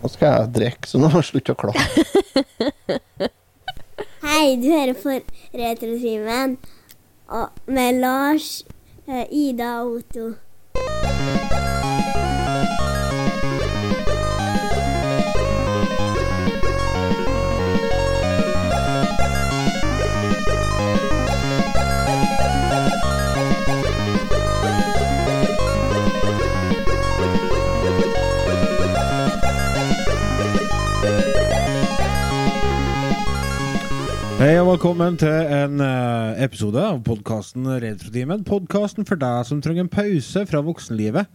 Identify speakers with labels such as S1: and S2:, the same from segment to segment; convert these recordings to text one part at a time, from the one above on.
S1: Nå skal jeg drikke, så nå må jeg slutte å klappe.
S2: Hei, du hører på Retrotimen og- med Lars, eh, Ida og Otto.
S3: Hei og velkommen til en eh, episode av podkasten Retrotimen. Podkasten for deg som trenger en pause fra voksenlivet.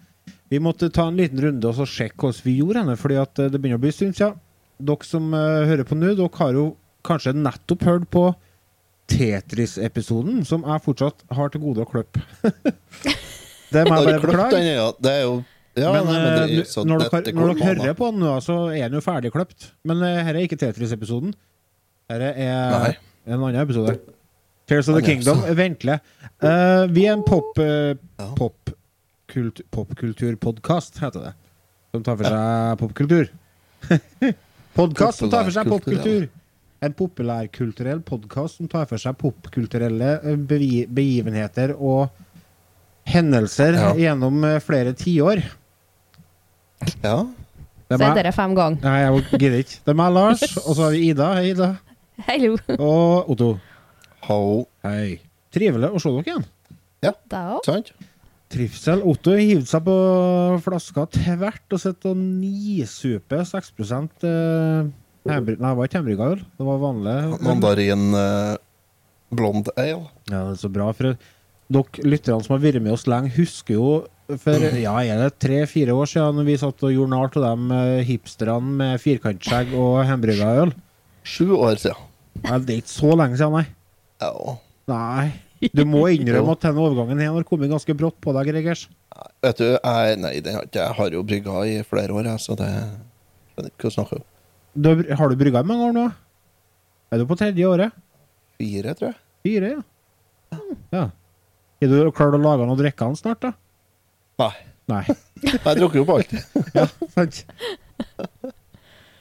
S3: Vi måtte ta en liten runde og så sjekke hvordan vi gjorde henne, fordi at eh, det begynner å bli en stund siden. Dere som eh, hører på nå, dere har jo kanskje nettopp hørt på Tetris-episoden, som jeg fortsatt har til gode å klippe. det
S1: Har
S3: må jeg
S1: du
S3: bare
S1: kløpt
S3: beklage.
S1: den øya? Det er jo Ja,
S3: Men,
S1: nei, men det er
S3: eh,
S1: jo så
S3: når
S1: dette
S3: dere,
S1: går
S3: når dere
S1: an, da.
S3: hører på den nå, så er den jo ferdig kløpt. Men eh, her er ikke Tetris-episoden. Her er
S1: Nei.
S3: en annen episode. Tears of the
S1: Annen
S3: Kingdom.
S1: episode.
S3: Ventle. Eh, vi er en pop... eh,
S1: Ja.
S3: pop kult, popkulturpodkast, heter det. Som tar for seg popkultur. podkast som tar for seg
S1: Populærkultur,
S3: popkultur. En populærkulturell podkast som tar for seg popkulturelle eh, bevi- begivenheter og hendelser
S1: Ja.
S3: gjennom eh, flere tiår.
S1: Ja.
S3: Det er
S4: Så er
S3: meg.
S4: dere fem ganger.
S3: Nei, jeg gidder ikke. Det er meg, Lars, og så har vi Ida. Hei, Ida.
S4: Hallo.
S3: Og Otto.
S1: Ho.
S3: Hei. Trivelig å se dere igjen.
S4: Da òg.
S1: Sant?
S3: Trivsel. Otto har hivd seg på flaska tvert og sitter og nisuper 6 eh, hembry- Nei, det var ikke hembryggøl. Det var vanlig.
S1: Mandarin eh, blond ale.
S3: Ja, det er så bra. For dere lytterne som har vært med oss lenge, husker jo for ja, er det tre-fire år siden når vi satt og gjorde narr av de eh, hipsterne med firkantskjegg og hembryggøl?
S1: Sju år siden.
S3: Nei, Det er ikke så lenge siden, nei.
S1: Ja.
S3: Nei. Du må
S1: Jo.
S3: innrømme at denne overgangen her har kommet ganske brått på deg, Gregers.
S1: Vet du, jeg, nei, den har ikke jeg har jo brygga i flere år, jeg, så det Skjønner ikke hva du snakker om.
S3: Du, har- har du brygga i mange år nå? Er du på tredje året?
S1: Fire, tror jeg.
S3: Fire, ja. ja. Er du klar til å lage noe drikke han snart, da?
S1: Nei.
S3: Nei.
S1: Jeg drukker jo på alt.
S3: Sant.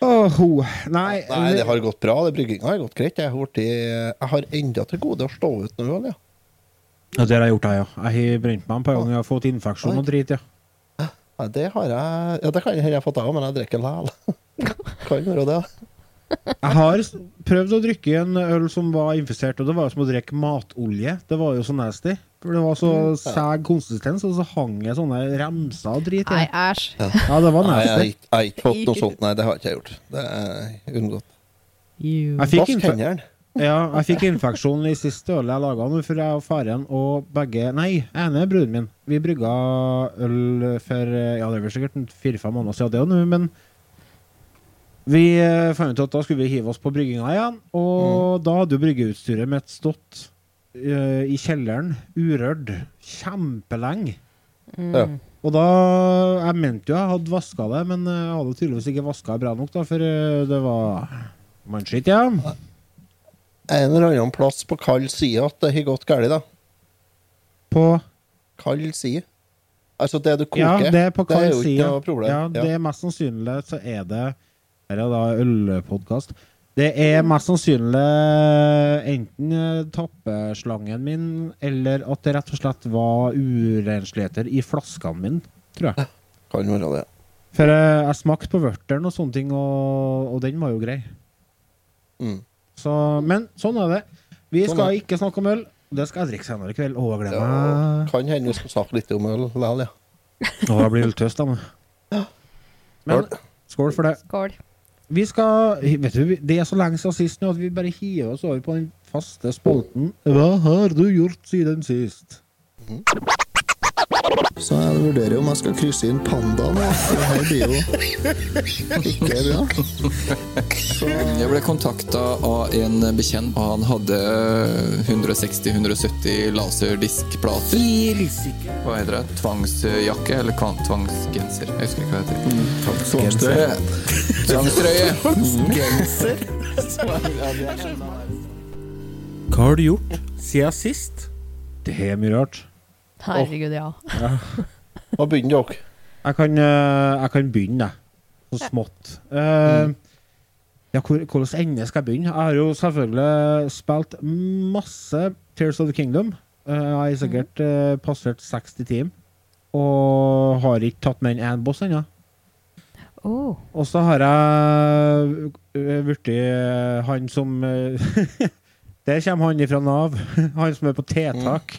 S3: Åh, ho. Nei,
S1: Nei, det har gått bra. det Brygginga har gått greit. Jeg har, vært i, jeg har enda til gode å stå ut noe øl, ja.
S3: Ja, det har jeg gjort, jeg, ja. Jeg har brent meg en par ganger. Jeg har fått infeksjon og drit, ja.
S1: Nei, det har jeg Ja, det kan hende jeg har fått av, men jeg drikker likevel. Kan være det.
S3: Jeg har s- prøvd å drikke en øl som var infisert, og det var jo som å drikke matolje. Det var jo så nasty. For det var så
S1: Mm.
S3: sæg konsistens, og så hang jeg sånne remser og drit.
S4: Nei,
S3: i.
S4: æsj.
S3: Ja, det var
S1: Nei, jeg har
S3: nasty.
S1: ikke- jeg har ikke fått noe sånt. Nei, det har ikke jeg gjort. Det er unngått.
S3: Jeg fikk,
S1: Vask
S3: infe
S1: hendene.
S3: ja, jeg fikk infeksjon i siste øl jeg laga nå, for jeg og faren og begge Nei, ene er broren min. Vi brygga øl for eh, Ja, det er vel sikkert en fire-fem måneder siden det er jo nå, men vi eh, fant ut at da skulle vi hive oss på brygginga igjen, og da hadde jo bryggeutstyret mitt stått eh, i kjelleren urørt kjempelenge.
S1: Ja.
S3: Og da Jeg mente jo jeg hadde vaska det, men eh, jeg hadde tydeligvis ikke vaska det bra nok, da, for eh, det var mannskitt, ja.
S1: En eller annen plass på kald side at det har gått galt, da.
S3: På
S1: Kald side. Altså det du koker.
S3: Ja, det er på
S1: det er
S3: kald
S1: jo ikke
S3: side.
S1: noe problem.
S3: Ja, det er mest sannsynlig så er det Her er da ølpodkast. Det er mest sannsynlig enten eh, tappeslangen min, eller at det rett og slett var urensligheter i flaskene mine, tror jeg.
S1: Kan være det.
S3: For eh, jeg smakte på vørteren og sånne ting, og, og den var jo grei.
S1: Mm.
S3: Så, men sånn er det. Vi
S1: Sånn er
S3: skal ikke snakke om øl. Det skal jeg drikke senere i kveld. Å, jeg gleder
S1: Ja,
S3: meg.
S1: kan hende vi skal snakke litt om øl likevel, ja.
S3: Å, jeg blir øltøst av meg. Men skål for det.
S4: Skål.
S3: Vi skal Vet du, vi- det er så lenge siden sist nå at vi bare hiver oss over på den faste spolten. Hva har du gjort siden sist?
S5: Så jeg vurderer jo om jeg skal krysse inn pandaen. ja. Det her blir jo ikke bra.
S6: Jeg ble kontakta av en bekjent, og han hadde 160-170 laserdiskplater. Hva heter det? Tvangsjakke eller kvan- tvangsgenser? Jeg husker ikke hva det heter.
S5: Tvangstrøye.
S6: Eh, Tvangstrøye! Genser?
S3: Hva har du gjort siden sist? Det er mye rart.
S4: Herregud, ja.
S1: Hva begynner dere?
S3: Jeg kan, eh, jeg kan begynne, jeg. Så smått. Eh, ja, hvor, hvordan ende skal jeg begynne? Jeg har jo selvfølgelig spilt masse Tears of the Kingdom. Eh, jeg har sikkert eh, passert 60 timer. Og har ikke tatt med en boss ennå.
S4: Oh.
S3: Og så har jeg øh, blitt øh, han som øh, Der kommer han ifra Nav. Han som er på tiltak.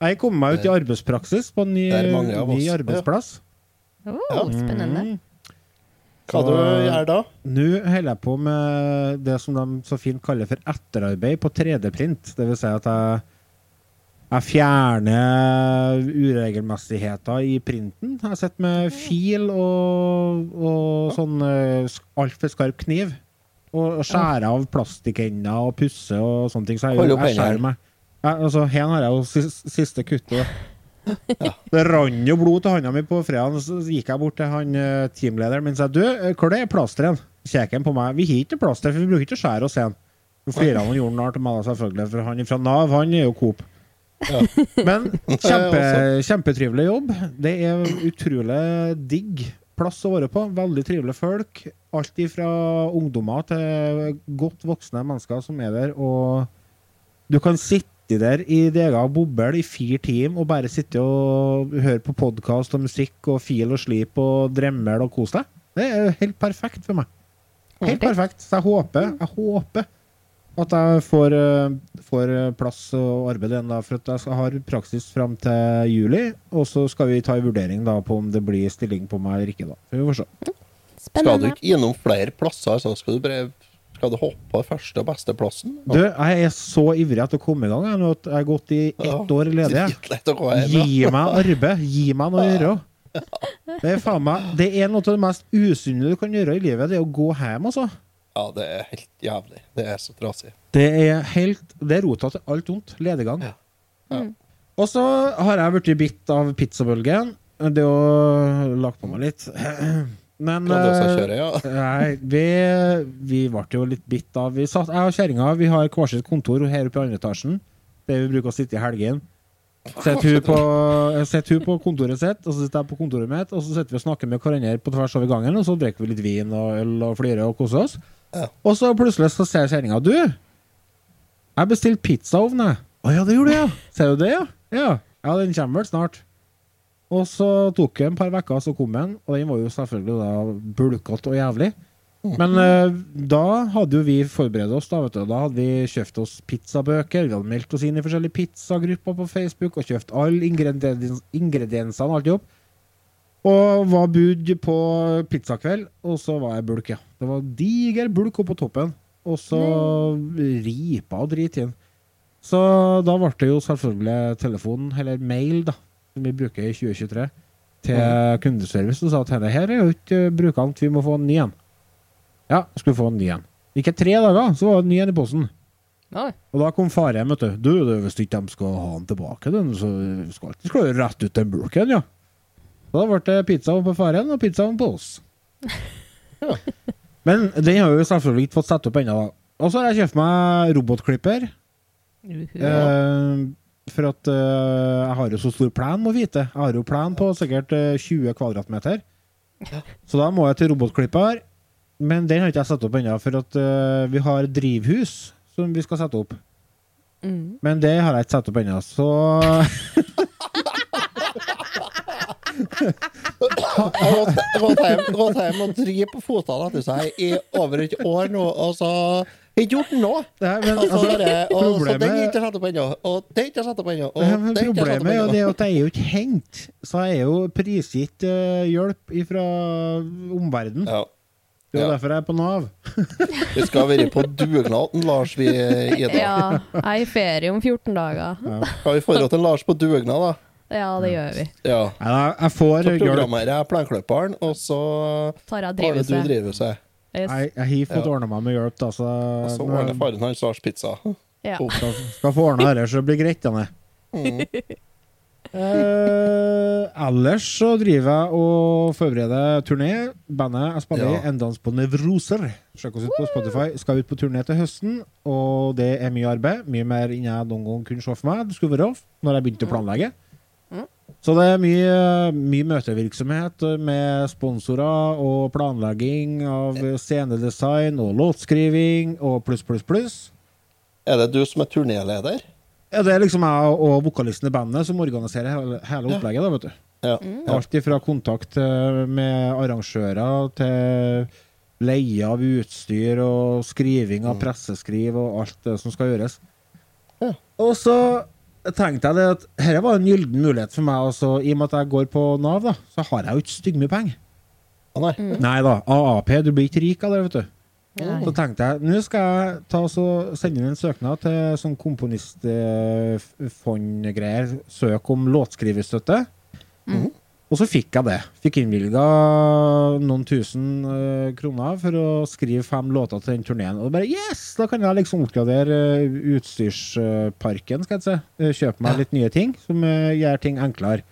S3: Jeg kom meg ut i arbeidspraksis på en ny,
S1: Mm. Der mange av
S3: ny
S1: oss.
S3: arbeidsplass.
S4: Oh,
S1: Ja.
S4: Spennende.
S3: Mm.
S1: Hva du gjør da?
S3: Nå holder jeg på med det som de så fint kaller for etterarbeid på 3D-print. Det vil si at jeg, jeg fjerner uregelmessigheter i printen. Jeg sitter med fil og, og sånn eh, sk- altfor skarp kniv. Og og skjærer av plastikkender og pusser og sånne ting. Så jeg,
S1: Hold
S3: jeg,
S1: opp hendene.
S3: skjærer meg. Jeg, altså, her har jeg jo sis- siste kuttet. Det rann jo blod til handa mi på fredag, så gikk jeg bort til han eh, teamlederen min og sa du, eh, hvor er det plasteret? Kjekker han på meg. Vi har ikke plaster, for vi bruker ikke å skjære oss igjen. Så flirer han og gjorde narr til meg, da, selvfølgelig, for han fra Nav, han er jo Coop. Men kjempe, kjempetrivelig jobb. Det er utrolig digg plass å være på. Veldig trivelige folk. Alt ifra ungdommer til godt voksne mennesker som er der. og... Du kan sitte der i din egen boble i fire timer og bare sitte og høre på podkast og musikk og fil og slip og dremmer og kose deg. Det er jo helt perfekt for meg. Helt perfekt. Så jeg håper, jeg håper at jeg får, eh, får eh, plass og arbeid igjen, da, for at jeg skal- har praksis fram til juli. Og så skal vi ta en vurdering da på om det blir stilling på meg eller ikke, da. Så vi får se.
S1: Skal du
S4: Spennende.
S1: ikke innom flere plasser? Så skal du bare skal du hoppe på første og beste plassen?
S3: Du, jeg er så ivrig etter å komme i gang jeg, nå at jeg har gått i ett år ledig. jeg.
S1: Dritlett å gå hjem, ja.
S3: Gi meg arbeid. Gi meg noe å gjøre. Det er, faen meg, det er noe av det mest usunne du kan gjøre i livet, det er å gå hjem, altså.
S1: Ja, det er helt jævlig. Det er så trasig.
S3: Det er helt Det er rota til alt vondt. Ledegang.
S1: Ja. Ja. Mm.
S3: Og så har jeg blitt bitt av pizzabølgen. Det å lagt på meg litt. Men
S1: Grandiosa
S3: eh,
S1: kjører, ja.
S3: Nei, vi, vi ble jo litt bitt av vi satt, Jeg og kjerringa vi har hver sitt kontor her oppe i andre etasjen, der vi bruker å sitte i helgen. Sitter hun, på, sitter hun på kontoret sitt, og så sitter jeg på kontoret mitt, og så sitter vi og snakker med hverandre på tvers over gangen, og så drikker vi litt vin og øl og flirer og koser oss.
S1: Ja.
S3: Og så plutselig så sier kjerringa Du, jeg bestilte pizzaovn, jeg. Å ja, det gjorde du, ja. Sier du det, ja? Ja, ja den kommer vel snart. Og så tok det en par uker, så kom den, og den var jo selvfølgelig da bulkete og jævlig. Men eh, da hadde jo vi forberedt oss. Da vet du, da hadde vi kjøpt oss pizzabøker. Vi hadde meldt oss inn i forskjellige pizzagrupper på Facebook og kjøpt alle ingrediens, ingrediensene. Alt jobb. Og var bud på pizzakveld, og så var jeg bulk, ja. Det var diger bulk oppå toppen. Og så ripa og drit inn. Så da ble det jo selvfølgelig telefon, eller mail, da, som vi bruker i 2023, til kundeservice og sa at dette her er jo ikke eh, brukant, vi må få en ny en. Ja, skulle få en ny en. Ikke tre dager, så var det en ny en i posten.
S4: Oi.
S3: Og da kom far hjem, vet du. Du, du, hvis ikke de skal ha den tilbake, den, så skal ikke slå rett ut den bulken, ja. Da ble det pizza på faren og pizza på oss. Men den har jo selvfølgelig ikke fått satt opp ennå. da. Og så har jeg kjøpt meg robotklipper. Eh, for at eh, jeg har jo så stor plan, må vite. Jeg har jo plan på sikkert eh, 20 kvadratmeter. Så da må jeg til robotklipper. Men den har ikke jeg satt opp ennå, for at eh, vi har drivhus som vi skal sette opp.
S4: Mm.
S3: Men det har jeg ikke satt opp ennå, så
S1: Jeg har gått- gått hjem- gått hjem og driv på fotene etter seg i over et år nå, og så har ikke gjort noe.
S3: Nei, men,
S1: Og så
S3: altså,
S1: bare- og så den er
S3: problemet-
S1: ikke satt opp ennå, og den er ikke satt opp ennå.
S3: Ja, men
S1: og den er ikke satt
S3: Problemet
S1: opp
S3: er jo
S1: ennå.
S3: det at jeg er jo ikke hengt, så jeg er jo prisgitt eh, hjelp fra omverdenen.
S1: Ja.
S3: Det er jo
S1: ja.
S3: derfor jeg er på Nav.
S1: Vi skal være på dugnaden, Lars, vi, Ida.
S4: Ja, jeg er i ferie om 14 dager.
S1: Skal vi forhold til Lars på dugnad, da?
S4: Ja, det gjør vi.
S1: Ja.
S3: Nei, nei, jeg får
S1: Så
S3: hjelp.
S1: programmerer jeg planklipperen, og så
S4: Tar jeg
S1: har det du
S4: drivhuset.
S1: drivhuset.
S4: Yes.
S3: Jeg, jeg har fått
S1: Ja.
S3: ordna meg med hjelp, da, så,
S1: Og så
S3: nå-
S1: ordner faren hans Lars pizza.
S4: Ja.
S1: Oh.
S3: skal, skal få ordna dette, så det blir greit. Janne. Eh, ellers så driver jeg og forbereder turné. Bandet jeg spiller i,
S1: Ja.
S3: En dans på nevroser. Sjekk oss ut på Spotify. Skal ut på turné til høsten, og det er mye arbeid. Mye mer enn jeg noen gang kunne se for meg. Det skulle være off når jeg begynte å planlegge. Så det er mye, mye møtevirksomhet med sponsorer og planlegging av scenedesign og låtskriving og pluss, pluss, pluss.
S1: Er det du som er turnéleder?
S3: Ja, det er liksom jeg og vokalisten i bandet som organiserer hele, hele opplegget. da, vet du.
S1: Ja.
S3: Alt ifra kontakt eh, med arrangører til leie av utstyr og skriving av presseskriv og alt det som skal gjøres.
S1: Mm. Ja.
S3: Og så tenkte jeg det at dette var en gyllen mulighet for meg. Også, I og med at jeg går på Nav, da, så har jeg jo ikke styggmye penger.
S1: Å nei.
S3: Nei da, AAP, du blir ikke rik av det, vet du.
S4: Nei.
S3: Så tenkte jeg, nå skal jeg ta og så sende inn en søknad til sånn komponistfondgreier, søk om låtskrivestøtte. Og så fikk jeg det. Fikk innvilga noen tusen eh, kroner for å skrive fem låter til den turneen. Og bare yes! Da kan jeg liksom oppgradere eh, utstyrsparken, skal jeg si. Eh, Kjøpe meg litt nye ting som eh, gjør ting enklere.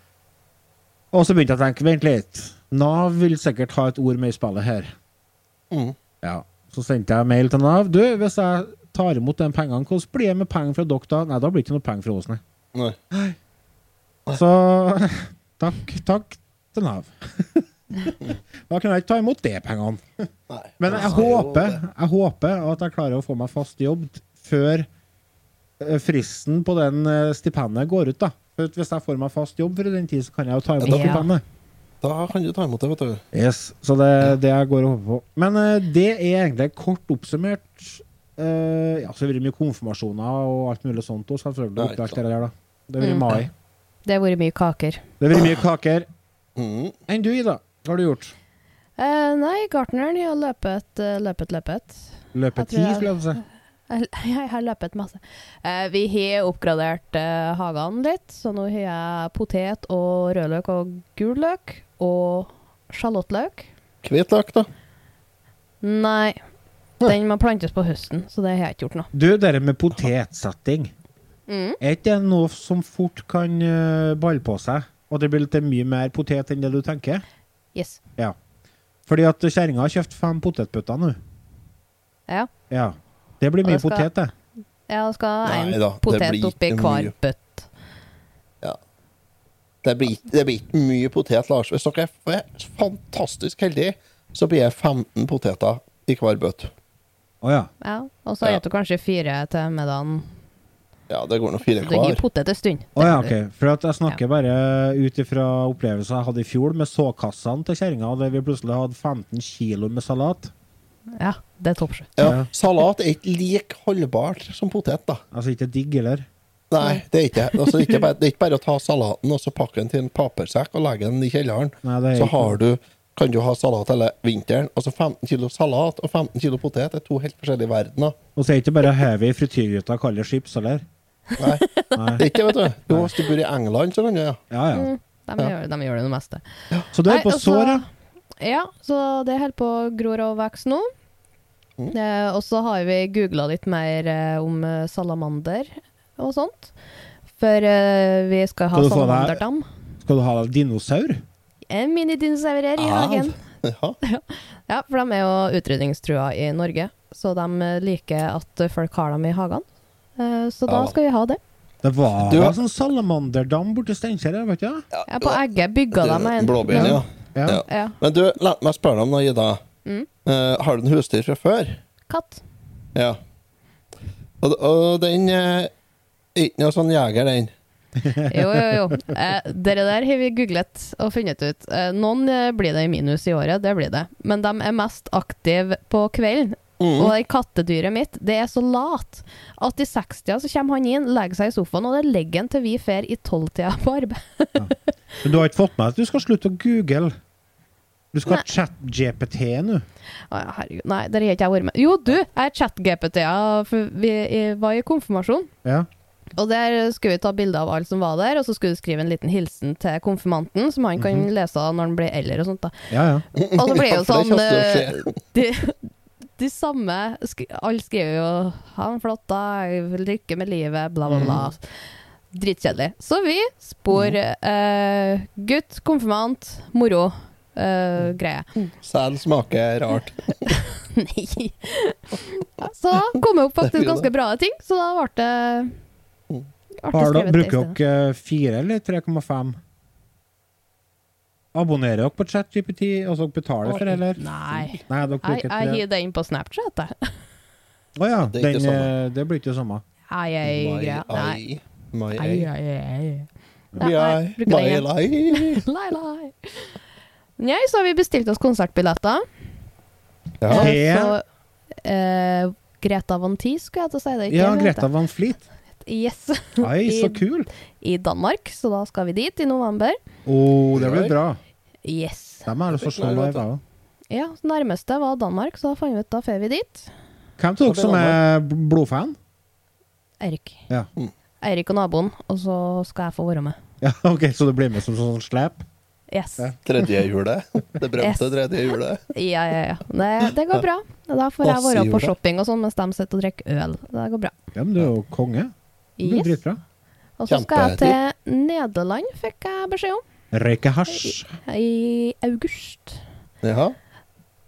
S3: Og så begynte jeg å tenke, vent litt. Nav vil sikkert ha et ord med i spillet her.
S1: Mhm.
S3: Ja. Så sendte jeg mail til Nav. Du, hvis jeg tar imot de pengene, hvordan blir det med penger fra dere da? Nei, da blir det ikke noe penger fra oss, nei.
S1: nei.
S3: Så takk, takk til Nav. da kunne jeg ikke ta imot de pengene.
S1: Nei.
S3: Men jeg håper, jeg håper at jeg klarer å få meg fast jobb t- før eh, fristen på den eh, stipendet går ut, da. For at hvis jeg får meg fast jobb før den tid, så kan jeg jo ta imot
S4: Ja.
S3: stipendet.
S1: Da kan du ta imot det, vet du.
S3: Yes, så det er det jeg går og håper på. Men eh, det er egentlig kort oppsummert. Eh, ja, så blir det mye konfirmasjoner og alt mulig sånt også, selvfølgelig.
S1: Ja,
S3: oppi
S1: ikke
S3: alt
S1: sant.
S3: Det der da. Det blir i
S4: Mm.
S3: mai.
S4: Det har vært mye kaker.
S3: Det blir mye kaker.
S1: Mhm.
S3: Enn du, Ida? Hva har du gjort?
S4: Eh, nei, gartneren har løpet, eh, løpet, løpet.
S3: Løpe
S4: Jeg tror
S3: ti,
S4: jeg-
S3: skulle jeg til å si.
S4: Jeg, jeg har løpet masse. Eh, vi har oppgradert eh, hagene litt, så nå har jeg potet og rødløk og gul løk og sjalottløk.
S1: Hvitløk, da.
S4: Nei, den må plantes på høsten, så det har jeg ikke gjort nå.
S3: Du, det der med potetsetting,
S4: Mm.
S3: er ikke det noe som fort kan eh, balle på seg? Og det blir litt mye mer potet enn det du tenker?
S4: Yes.
S3: Ja. Fordi at kjerringa har kjøpt fem potetbøtter nå.
S4: Ja.
S3: Ja. Det blir
S4: Og
S3: mye
S4: det skal-
S3: potet, det.
S4: Jeg skal ha
S1: Nei
S4: en
S1: da, det
S4: potet
S1: blir
S4: oppi
S1: ikke
S4: hver
S1: mye.
S4: bøtt.
S1: Det blir, ikke- det blir ikke mye potet, Lars. Hvis dere er f- fantastisk heldige, så blir det 15 poteter i hver bøtte.
S3: Å ja.
S4: Ja. Og så
S1: Ja.
S4: spiser du kanskje fire til middagen.
S1: Ja, det går nå fire
S4: Du har
S1: hver.
S4: potet en stund.
S3: Å ja, ok. For at jeg snakker bare ut ifra opplevelsen jeg hadde i fjor med såkassene til kjerringa, der vi plutselig hadde 15 kilo med salat.
S4: Ja, det er toppsjø.
S1: Ja, salat er ikke like holdbart som potet, da.
S3: Altså ikke digg, eller?
S1: Nei, det er ikke det. Altså, ikke bare, det er ikke bare å ta salaten og så pakke den til en papirsekk og legge den i kjelleren.
S3: Nei, det er
S1: så
S3: ikke-
S1: har du, kan du ha salat hele vinteren. Altså 15 kilo salat og 15 kilo potet er to helt forskjellige verdener.
S3: Og så er det ikke bare å heve i frityrgryta og kalle det chips, eller?
S1: Nei, det
S3: Nei.
S1: er ikke det, vet du. Jo, hvis du bor i England, så kan du ja.
S3: Ja, ja.
S4: De, gjør, de gjør det det meste.
S3: Så du er
S4: Mm. Nei, altså-
S3: på
S4: og så-
S3: sår, ja?
S4: Ja, så det holder på å gror og vokse nå.
S3: Mm.
S4: Eh, og så har vi googla litt mer eh, om eh, salamander og sånt. For eh, vi skal ha
S3: Skal du få deg-
S4: salamanderdam.
S3: Skal du ha dinosaur?
S4: En minidinosaurer i
S3: Ah,
S4: hagen.
S1: ja.
S4: Ja, for de er jo utrydningstrua i Norge, så de eh, liker at eh, folk har dem i hagene. Eh, Så da
S1: Ja.
S4: skal vi ha det.
S3: Det var
S1: Du-
S3: en sånn salamanderdam borti Steinkjer, vet du? Ja.
S4: Ja, på Egge bygga de en.
S1: Blåbær, ja.
S3: ja.
S1: Ja.
S4: Ja.
S1: Men du, la meg spørre deg om noe, Ida.
S4: Mm.
S1: Eh, har du en husdyr fra før?
S4: Katt.
S1: Ja. Og, og den eh, er ikke noe sånn jeger, den.
S4: Jo, jo, jo. Eh, dere der har vi googlet og funnet ut. Eh, noen eh, blir det i minus i året, det blir det. Men de er mest aktive på kvelden.
S1: Mm.
S4: Og det kattedyret mitt, det er så lat at i 60-tida så kommer han inn, legger seg i sofaen, og det legger han til vi fer i 12-tida på arbeid.
S3: Men du har ikke fått med at du skal slutte å google? Du skal
S4: Nei.
S3: ha chat-GPT nå.
S4: Å, ja, herregud. Nei, der har ikke jeg vært med. Jo, du, jeg er chat-GPT-a, for vi eh, var i konfirmasjon.
S3: Ja.
S4: Og der skulle vi ta bilde av alt som var der, og så skulle du skrive en liten hilsen til konfirmanten, som han kan lese av når han blir eldre og sånt. da.
S3: ja, ja.
S4: Og så blir
S1: Ja, for
S4: det jo
S1: det
S4: sånn
S1: kommer
S4: eh, de, de samme skri, Alle skriver jo 'ha en flott dag', 'lykke med livet', bla, bla, bla. Dritkjedelig. Så vi spor eh, gutt, konfirmant, moro. eh, greie.
S1: Sel smaker rart.
S4: Nei. Så da Mm. kom jeg opp faktisk
S1: Det er jo det.
S4: ganske bra ting, så da ble det artig
S3: Har dere,
S4: skrevet det i
S3: bruker
S4: stedet.
S3: dere 4 eller 3,5? Abonnerer dere på ChatGPT, og så betaler for, eller?
S4: Nei.
S3: Nei, dere
S4: Jeg
S3: bruker
S4: jeg
S3: 3
S4: hiver det inn på Snapchat, jeg.
S3: Å ja,
S1: Det er ikke
S3: den,
S1: det
S3: eh, det blir ikke det samme.
S4: Ai, ai, greia. Nei.
S1: eye. My
S4: Ai,
S1: eye.
S4: ai, ai.
S1: My eye.
S4: bruker
S1: My
S4: det igjen.
S1: eye.
S4: Lai, lai. Nei, så har vi bestilt oss konsertbilletter.
S1: Ja.
S4: Eh,
S3: Ja.
S4: Så eh, Greta Van Tee, skulle jeg til å si det. ikke?
S3: Ja,
S4: Hun heter
S3: Greta Van Fleet.
S4: det. Yes.
S3: Oi, så
S4: I-
S3: kul!
S4: I Danmark, så da skal vi dit i november.
S3: Å, Oh, det blir bra.
S4: Yes.
S3: Dem er det så slå
S1: Beklager,
S3: live
S1: Greta.
S3: av.
S4: Ja, nærmeste var Danmark, så da fant vi ut da drar vi dit.
S3: Hvem av dere som er blodfan?
S4: Eirik.
S3: Ja.
S4: Eirik og naboen, og så skal jeg få være med.
S3: ja, ok, Så du blir med som sånn slep?
S4: Yes.
S3: Ja.
S1: Tredje hjulet. Det
S4: Yes.
S1: bremte tredje hjulet.
S4: Ja, ja, ja. Det, det går bra. Da får jeg være på shopping og sånn mens de sitter og drikker øl. Det går bra.
S3: Ja, men du er jo konge. Det blir
S4: Yes.
S3: dritbra.
S4: Og så skal jeg til Nederland, fikk jeg beskjed om.
S3: Røyke hasj.
S4: I august.
S1: Jaha.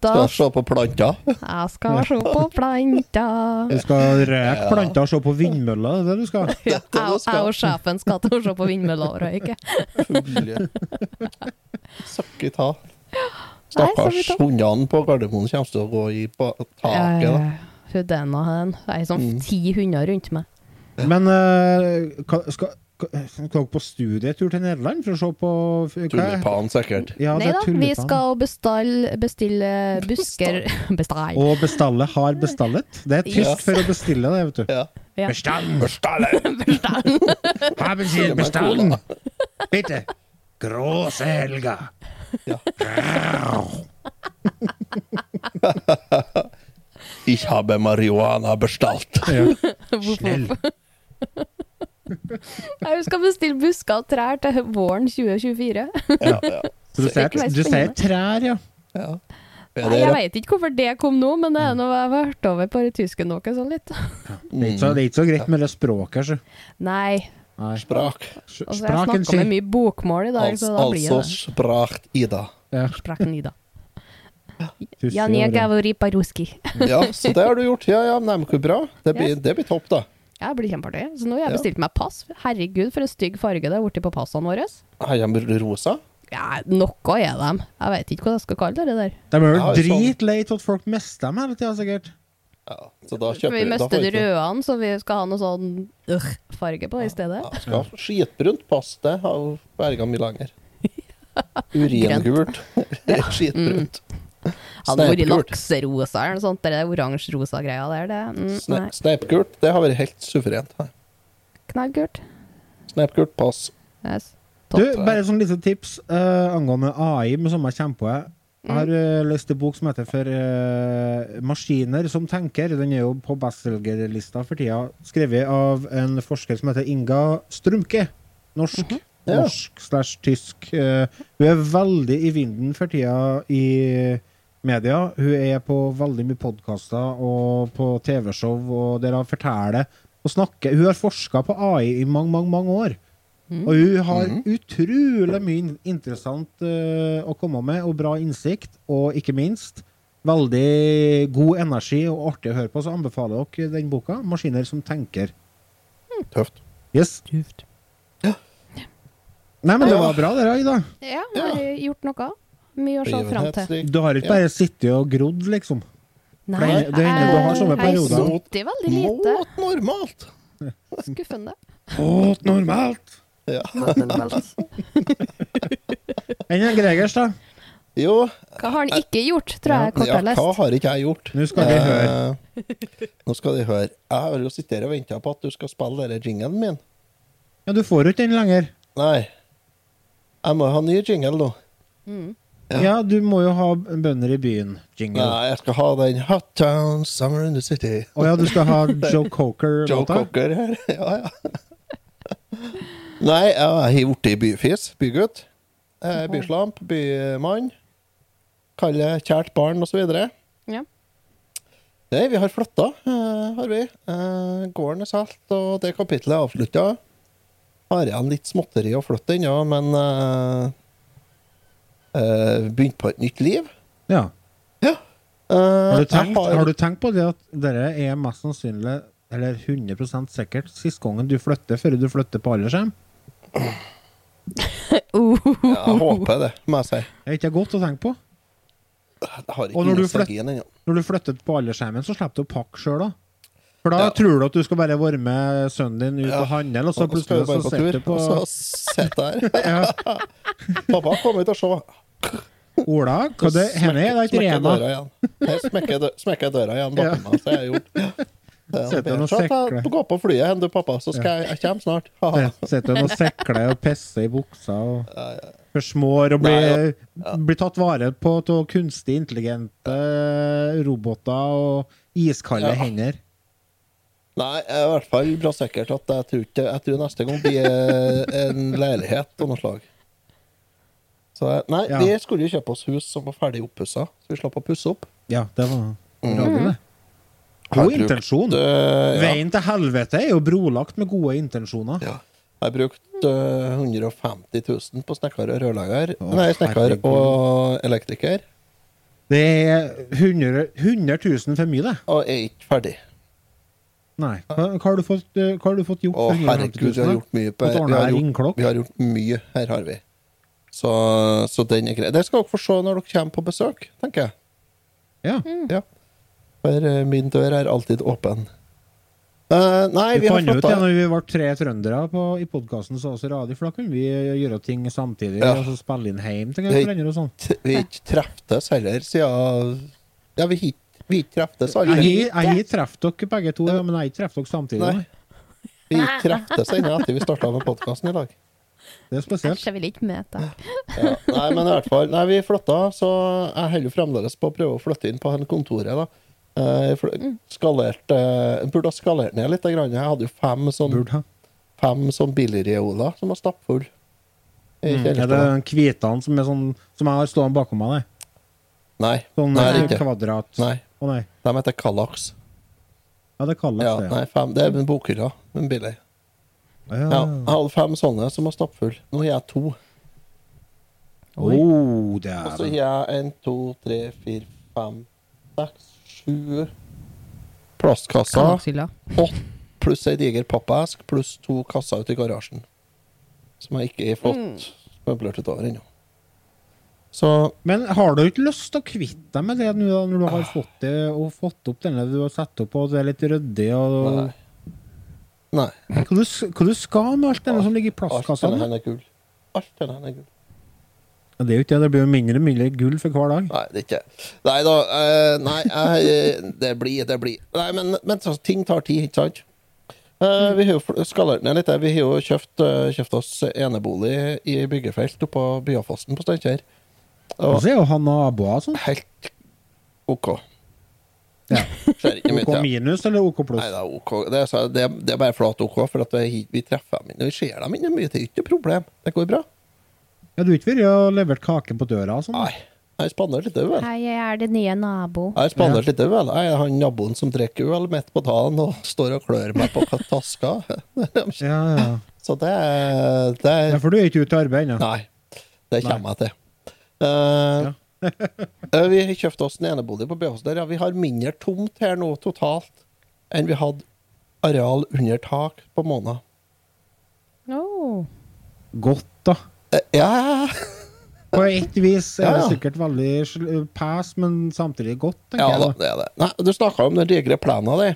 S4: Da
S1: Skal jeg se på planta?
S4: jeg skal se på planter.
S3: Du skal røyke planter og se på vindmøller, det er det du skal?
S4: Ja,
S1: det er
S4: jeg,
S1: noe
S4: jeg og sjefen skal til å se på vindmøller og røyke.
S1: Søkket ta.
S4: Nei, så vi
S1: Stakkars
S4: tar-
S1: hundene på Gardermoen kommer til å gå i på taket.
S4: Ja,
S1: da.
S4: ja, ja. Hun denne hen. Det er sånn
S1: Mm.
S4: ti hunder rundt meg.
S3: Men eh, hva- skal hva- skal dere på studietur til Nederland for å se på hva er-
S1: Tulipan, sikkert.
S3: Ja, det
S4: Nei
S3: er
S4: da, vi
S3: tulipan.
S4: skal bestille, bestille busker Bestille.
S3: Og bestille har bestallet. Det er tyst
S1: Yes.
S3: for å bestille det, vet du.
S1: Ja.
S4: Ja.
S3: Bestand!
S1: Stalle!
S3: Haben Sie
S1: Gi meg cola.
S3: Bitte! Gråse Helga!
S1: Ja. Ich habe marihuana bestalt.
S4: Snill. Nei, vi skal bestille busker og trær til våren 2024.
S1: Ja, ja.
S3: Så du
S4: Så det
S3: sier,
S4: kan være
S3: du sier
S4: spennende.
S3: trær, ja.
S1: ja.
S4: Nei, jeg vet ikke hvorfor det kom nå, men det er noe jeg har hørt over på tysken noe sånn litt.
S3: Det er ikke så, det er ikke så greit med det språket. Så.
S4: Nei,
S3: Nei.
S1: Mm. Sprak.
S4: og så har Altså, jeg
S3: Spraken
S4: snakket med
S3: sin.
S4: mye bokmål i dag,
S1: Altså,
S4: så da blir
S1: altså
S4: det
S1: sprakt Ida.
S3: Ja.
S4: spraken i dag.
S3: Fy
S4: Ja, jeg
S3: søren.
S4: gaver i paruski.
S1: Ja, så det har du gjort. Ja, ja, men det er bra. Det blir, det blir topp, da.
S4: Ja, det blir kjempeartig. Så nå har jeg bestilt meg pass. Herregud, for en stygg farge det har blitt på passene våre.
S1: Har jeg rosa?
S4: Ja, noe er dem. Jeg vet ikke hva jeg skal kalle det der.
S3: De er jo
S1: Ja, sånn.
S3: dritlei av at folk mister dem hele tida, sikkert.
S1: Ja, så da kjøper
S4: Vi
S1: da får
S4: mistet de
S1: vi ikke-
S4: røde, så vi skal ha noe sånn øh, farge på det i stedet.
S1: Ja, skal ha skitbrunt pass, det har berga mye lenger. Uringult. Skitbrunt.
S4: Mm, Hadde det vært
S1: Sneipgult.
S4: lakserosa eller noe sånt, det der oransje-rosa greia der, det mm,
S1: Sne-
S4: Nei,
S1: Sneipgult, det har vært helt suverent.
S4: knallgult.
S1: Sneipgult pass.
S4: Yes.
S3: Du,
S4: Topp.
S3: bare sånn lite tips eh, angående AI, med samme kommer på jeg. Jeg har eh, lest en bok som heter For eh, maskiner som tenker. Den er jo på bestselgerlista for tida. Skrevet av en forsker som heter Inga Strumke. Norsk.
S1: Ja.
S3: Norsk slash tysk. Eh, hun er veldig i vinden for tida i media. Hun er på veldig mye podkaster og på TV-show, og der hun forteller og snakker. Hun har forska på AI i mange, mange, mange år.
S1: Mm.
S3: Og hun har utrolig mye in- interessant eh, å komme med, og bra innsikt, og ikke minst veldig god energi og artig å høre på. Så anbefaler dere den boka, 'Maskiner som tenker'.
S1: Tøft.
S3: Yes.
S4: Tøft.
S3: Nei, men det var bra, det, da, Ida.
S4: Ja, har vi gjort noe? Mye å se fram til.
S1: Begivenhetsrik.
S3: Du har ikke bare sittet og grodd, liksom.
S4: Nei,
S3: Det er- det er- du har sånne perioder.
S4: sittet veldig lite.
S1: Mot normalt.
S4: Skuffende.
S3: Åt normalt!
S1: Ja.
S3: Enn en Gregers, da?
S1: Jo,
S4: Hva har han ikke gjort, tror jeg kort
S1: ja,
S4: har
S1: hva
S4: lest.
S1: har ikke jeg gjort?
S3: Nå skal vi høre.
S1: Eh, nå skal de høre. Jeg har jo sittet her og venta på at du skal spille denne jingelen min.
S3: Ja, du får jo ikke den lenger.
S1: Nei. Jeg må ha ny jingle nå.
S3: Ja. du må jo ha bønder i byen. Jingle. Å
S1: Nei, jeg skal ha den Hot Town Summer in the City.
S3: ja, du skal ha Joe Coker.
S1: Joe Cocker her. Ja, ja. Nei, jeg har blitt byfis. Bygutt. Eh, Byslamp. Bymann. Kalle kjært barn, osv.
S4: Ja.
S1: Nei, vi har flytta, eh, har vi. Eh, gården er solgt, og det kapitlet er avslutta. Har igjen litt småtteri å flytte ennå, men eh, eh, Begynt på et nytt liv.
S3: Ja.
S1: Ja. Eh,
S3: Har, du
S1: jeg
S3: tenkt, har du tenkt på det at dere er mest sannsynlig eller 100 sikkert sist gangen du flytter, før du flytter på aldershjem?
S1: Ja, jeg håper det, må jeg si.
S3: Det er ikke godt å tenke på.
S1: Jeg har
S3: Og
S1: ikke
S3: når du
S1: nostalgien ennå.
S3: Når du flytter på aldershjemmen, så slipper du å pakke sjøl, da. For da
S1: Ja.
S3: tror du at du skal bare være med sønnen din ut
S1: Ja.
S3: og handle, og så
S1: Og skal
S3: plutselig
S1: du
S3: så
S1: bare på tur,
S3: sitter du på
S1: og så sitter jeg der.
S3: ja.
S1: Pappa, kom hit og se.
S3: Ola, hva det henne er da ikke
S1: Smekker
S3: rena.
S1: døra igjen. Jeg smekker, dø smekker jeg døra igjen bak
S3: Ja.
S1: meg. Så jeg gjort. Det er
S3: Sitter
S1: bedre.
S3: han og
S1: Så at
S3: sikler.
S1: jeg går på flyet hen, du, pappa, så skal jeg, jeg kommer snart. Haha.
S3: Ja, Sitter hun og sekler og pisser i buksa og forsmår og blir,
S1: Nei,
S3: blir tatt vare på av kunstig intelligente roboter og iskalde
S1: Ja.
S3: hender.
S1: Nei, jeg er i hvert fall bra sikkert at jeg tror, ikke, jeg tror neste gang blir eh, en leilighet av noe slag. Så jeg- nei,
S3: Ja.
S1: vi skulle jo kjøpe oss hus som var ferdig oppussa, så vi slapp å pusse opp.
S3: Ja, det var
S1: Mm.
S3: bra, det.
S6: Har
S3: God
S6: brukt,
S3: intensjon.
S1: Det- ja.
S3: Veien til helvete er jo brolagt med gode intensjoner.
S1: Ja. Jeg brukte øh, 150 000 på snekker og rørlegger.
S3: Å,
S1: Nei, snekker
S3: herregud.
S1: og elektriker.
S3: Det er 100, 100 000 for mye, det.
S1: Og er ikke ferdig.
S3: Nei. Hva, hva, har, du fått, eh, hva har du fått gjort
S1: Å,
S3: for 150
S1: herregud,
S3: 000?
S1: vi har gjort mye på
S3: Fått ordnet
S1: vi har
S3: her
S1: gjort-
S3: ringklokk?
S1: Vi har gjort mye. Her har vi. Så, så den er grei. Det skal dere få se når dere kommer på besøk, tenker jeg.
S3: Ja.
S1: Ja. For eh, min dør er alltid åpen. Eh, nei, vi,
S3: Vi
S1: har
S3: fant ut det
S1: flytta
S3: når vi var tre trøndere på, i podkasten, så også radio, for da kunne vi gjøre ting samtidig.
S1: Ja.
S3: Og så spille inn hjem til
S1: Hei.
S3: hverandre og sånn.
S1: Vi har ikke treftes heller siden Ja, vi har ikke- vi har ikke treftes
S3: Jeg
S1: aldri.
S3: jeg har truffet dere begge to, ja, men jeg har ikke truffet dere samtidig.
S1: Nei. Vi har ikke treftes ennå etter vi starta med podkasten i dag.
S3: Det er spesielt.
S4: Æsj, jeg vil ikke med, takk.
S1: Ja. Nei, men i hvert fall Nei, vi flytta, så jeg holder jo fremdeles på å prøve å flytte inn på hen kontoret. da Eh, fl- Skalert eh, Burde ha skalert ned litt. Grann. Jeg hadde jo fem sånn,
S3: Burde ha.
S1: fem sånn billigreoler som var stappfull i
S3: Mm. Er det
S1: kjellerståa.
S3: den hvitene som, er sånn, som jeg har stående bakom meg? det?
S1: Nei,
S3: Sånn
S1: Nei,
S3: eh,
S1: ikke.
S3: kvadrat Å
S1: nei.
S3: nei.
S1: De heter Kallax.
S3: Ja, det kalles
S1: Ja,
S3: det.
S1: nei, fem, det er en bokhylle. En billig.
S3: Ja.
S1: Ja, jeg hadde fem sånne som var stappfull. Nå har jeg to.
S3: Oh, det
S1: Og
S3: er
S1: så har jeg en, to, tre, fire, fem, seks, sju plastkasser.
S4: Kallakshylla.
S1: pott pluss ei diger pappesk pluss to kasser ute i garasjen. Som jeg ikke har fått møblert utover ennå. Så
S3: Men har du ikke lyst til å kvitte deg med det nå, da, når du har fått det og fått opp denne du har satt opp, og du er litt ryddig og
S1: Nei. Nei.
S3: Hva du, hva du skal med alt denne som ligger i
S1: Alt
S3: plastkassa?
S1: denne her
S3: nå?
S1: er gull. Alt denne her er gull.
S3: Ja, Det er jo ikke det, det blir jo mindre og mindre gull for hver dag.
S1: Nei, det er ikke Nei da. eh, nei, jeg, det blir, det blir. Nei, men, men så, ting tar tid, ikke sant? Eh, vi har jo fl- skalert ned litt. der. Vi har jo kjøpt, eh, kjøpt oss enebolig i byggefelt oppå Byafossen på Steinkjer.
S3: Og
S1: Og
S3: så er jo han naboer og sånn.
S1: helt OK.
S3: Ja.
S1: Skjer ikke mye
S3: OK
S1: til.
S3: minus eller OK
S1: Nei,
S3: pluss?
S1: det er OK. Det er, så- det, er- det er bare flat OK, for at vi, vi treffer dem ikke. Vi ser dem ikke mye, det er ikke noe problem. Det går bra.
S3: Ja, du har ikke vært og levert kake på døra og sånn? da?
S1: Nei, jeg har spandert litt øl. Jeg
S4: Hei, jeg er din nye nabo.
S1: har spandert litt øl. Jeg er han naboen som drikker øl midt på dagen og står og klør meg på taska.
S3: Ja, ja.
S1: Så det er, det
S3: ja,
S1: er
S3: for du er ikke ute i arbeid ennå?
S1: Nei. Det kommer jeg til. Eh, eh, vi har kjøpt oss en enebolig på Bjås der. Ja, vi har mindre tomt her nå totalt enn vi hadde areal under tak på måneden.
S4: Oh.
S3: Godt, da.
S1: Eh, ja,
S3: På et vis er det
S1: Ja, ja.
S3: sikkert veldig sl- pes, men samtidig godt,
S1: ja
S3: tenker
S1: da,
S3: jeg. da.
S1: det er det. Nei, du snakka om den digre plena di.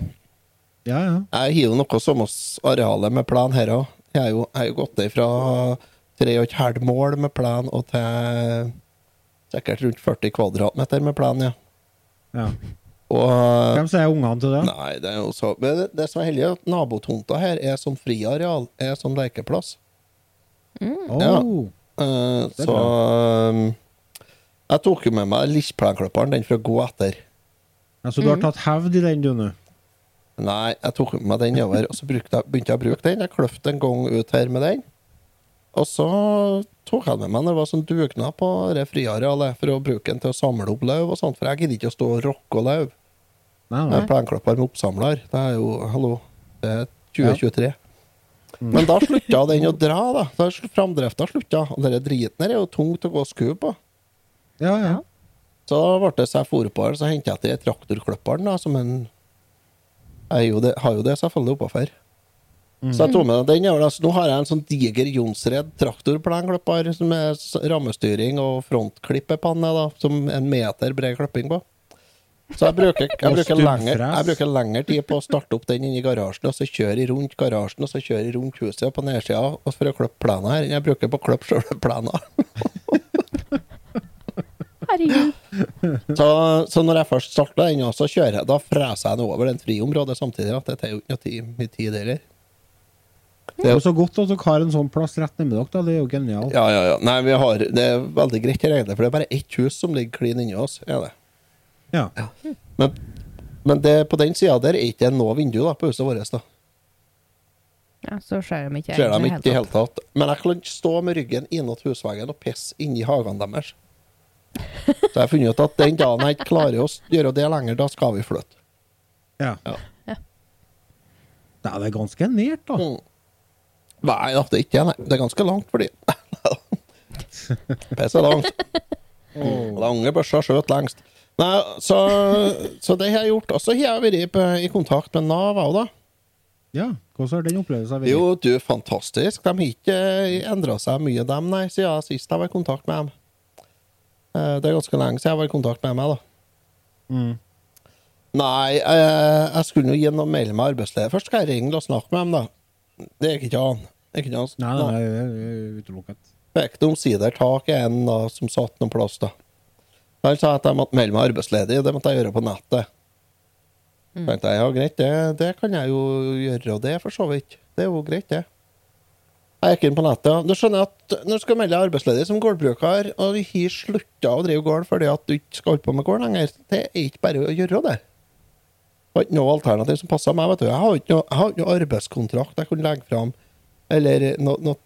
S3: Ja, ja.
S1: Jeg har jo noe samme arealet med plen her òg. Jeg har jo, jeg har jo gått ned fra tre og et halvt mål med plen og til sikkert rundt 40 kvadratmeter med plen, ja.
S3: ja.
S1: Og
S3: Hvem sier ungene til det?
S1: Nei, det er jo så Men det, det som er heldig, er at nabotomta her er sånn friareal, er sånn lekeplass. ja.
S3: Oh.
S1: Eh,
S3: er
S1: så eh, Jeg tok jo med meg lisjplenklipperen, den for å gå etter.
S3: Ja, så du har tatt hevd i den, du, nå?
S1: Nei, jeg tok med meg den over, og så brukte jeg, begynte jeg å bruke den. Jeg kløfte en gang ut her med den. Og så tok jeg den med meg når det var sånn dugnad på det friarealet, for å bruke den til å samle opp løv og sånt, for jeg gidder ikke å stå og rokke og løv.
S3: Nei,
S1: Jeg
S3: nei.
S1: er plenklapper med oppsamler. Det er jo Hallo, det er 2023. Men da slutta den å dra, da. Da sl- Framdrifta slutta. Og denne driten her er jo tungt å gå og skue på.
S3: Ja, ja.
S1: Så da ble det så jeg for på den, så henta jeg til traktorklipperen, da, som en Jeg er jo det, har jo det selvfølgelig oppafor. Så jeg tok med den. jævla- så Nå har jeg en sånn diger Jonsred traktorplenklipper som er s- rammestyring og frontklippepanne, da, som en meter bred klipping på. Så jeg bruker, jeg,
S3: Og
S1: bruker lengre,
S3: stubbfres.
S1: jeg bruker lengre tid på å starte opp den inni garasjen, og så kjøre i rundt garasjen, og så kjøre i rundt huset og på nedsida og for å klippe plenen her. enn Jeg bruker på å klippe sjøle plenen.
S4: Herregud.
S1: Så, så når jeg først starter den, så kjører jeg, da freser jeg den over den friområdet samtidig. At det tar jo ikke noe tid, mye tid heller.
S3: Det er jo så godt at dere har en sånn plass rett nedi dere. da, Det er jo genialt.
S1: Ja, ja, ja. Nei, vi har, det er veldig greit her egentlig, for det er bare ett hus som ligger klin inni oss. Er det.
S3: Ja.
S1: Men, men det, på den sida der er ikke det noe vindu da, på huset vårt. da.
S4: Ja, så ser de ikke
S1: Ser
S4: i
S1: de
S4: det
S1: ikke i det
S4: hele tatt.
S1: hele tatt. Men jeg kan stå med ryggen innåt husveggen og pisse inni hagen deres. Så jeg har funnet ut at den dagen jeg ikke klarer å gjøre det lenger, da skal vi flytte.
S3: Ja.
S1: Ja.
S3: Det er vel ganske nært, da.
S1: Mm. Nei, da, det er ikke det. Nei. Det er ganske langt for de. Piss er langt. Lange børser skjøt lengst. Nei, så, så det har jeg gjort. Og så har jeg vært på- i kontakt med Nav òg, da.
S3: Ja. Hvordan har den opplevelsen vært?
S1: Jo, du, fantastisk. De har ikke endra seg mye, dem, nei, siden sist jeg var i kontakt med dem. Eh, Det er ganske lenge siden jeg var i kontakt med meg, da.
S3: Mm.
S1: Nei, jeg, jeg skulle jo gjennom mail med arbeidsledet. Først skal jeg ringe og snakke med dem, da. Det gikk ikke an. Det gikk ikke an.
S3: Nei, nei, nei, det er eh, utelukket.
S1: Fikk de omsider tak i en da, som satt noen plass, da. Han sa at jeg måtte melde meg arbeidsledig, det måtte jeg gjøre på nettet. tenkte jeg, ja greit, det, det kan jeg jo gjøre, og det for så vidt. Det er jo greit, det. Jeg gikk inn på nettet, og du skjønner at når du skal melde deg arbeidsledig som gårdbruker, og du har slutta å drive gård fordi at du ikke skal holde på med gård lenger, det er ikke bare å gjøre det. Det var ikke noe alternativ som passa meg. vet du. Jeg har ikke noe, jeg har ikke noe arbeidskontrakt jeg kunne legge fram, eller noe, noe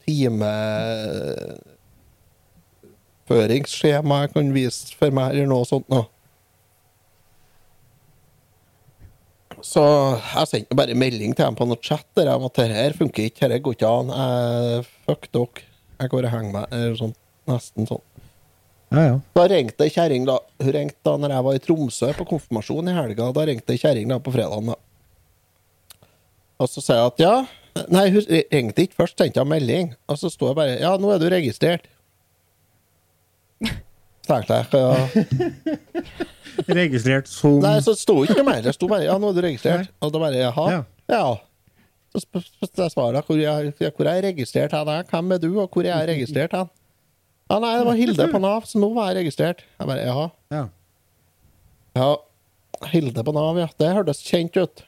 S1: timeføringsskjema jeg kan vise for meg, eller noe sånt noe. Så jeg sendte bare melding til dem på noe chat der om at det her funker ikke, dette går ikke an. Jeg, fuck dere. Jeg går og henger meg. Eller sånn. Nesten sånn.
S3: Ja, ja.
S1: Da ringte ei kjerring, da. Hun ringte da når jeg var i Tromsø på konfirmasjon i helga. Da ringte ei kjerring da på fredagen, da. Og så sa jeg at ja Nei, hun ringte ikke først, sendte jeg melding. Og så sto jeg bare Ja, nå er du registrert. Tenkte jeg. Ja.
S3: Registrert som
S1: Nei, så sto ikke noe mer. Det sto bare Ja, nå er du registrert. Og da bare Jaha.
S3: Ja.
S1: Ja. Så sp- sp- sp- jeg svarer hvor jeg, ja, hvor er jeg registrert hen? Ja, Hvem er du, og hvor er jeg registrert hen? Ja, nei, det var Hilde på Nav, så nå var jeg registrert. Jeg bare Jaha.
S3: ja.
S1: Ja, Hilde på Nav, ja. Det hørtes kjent ut.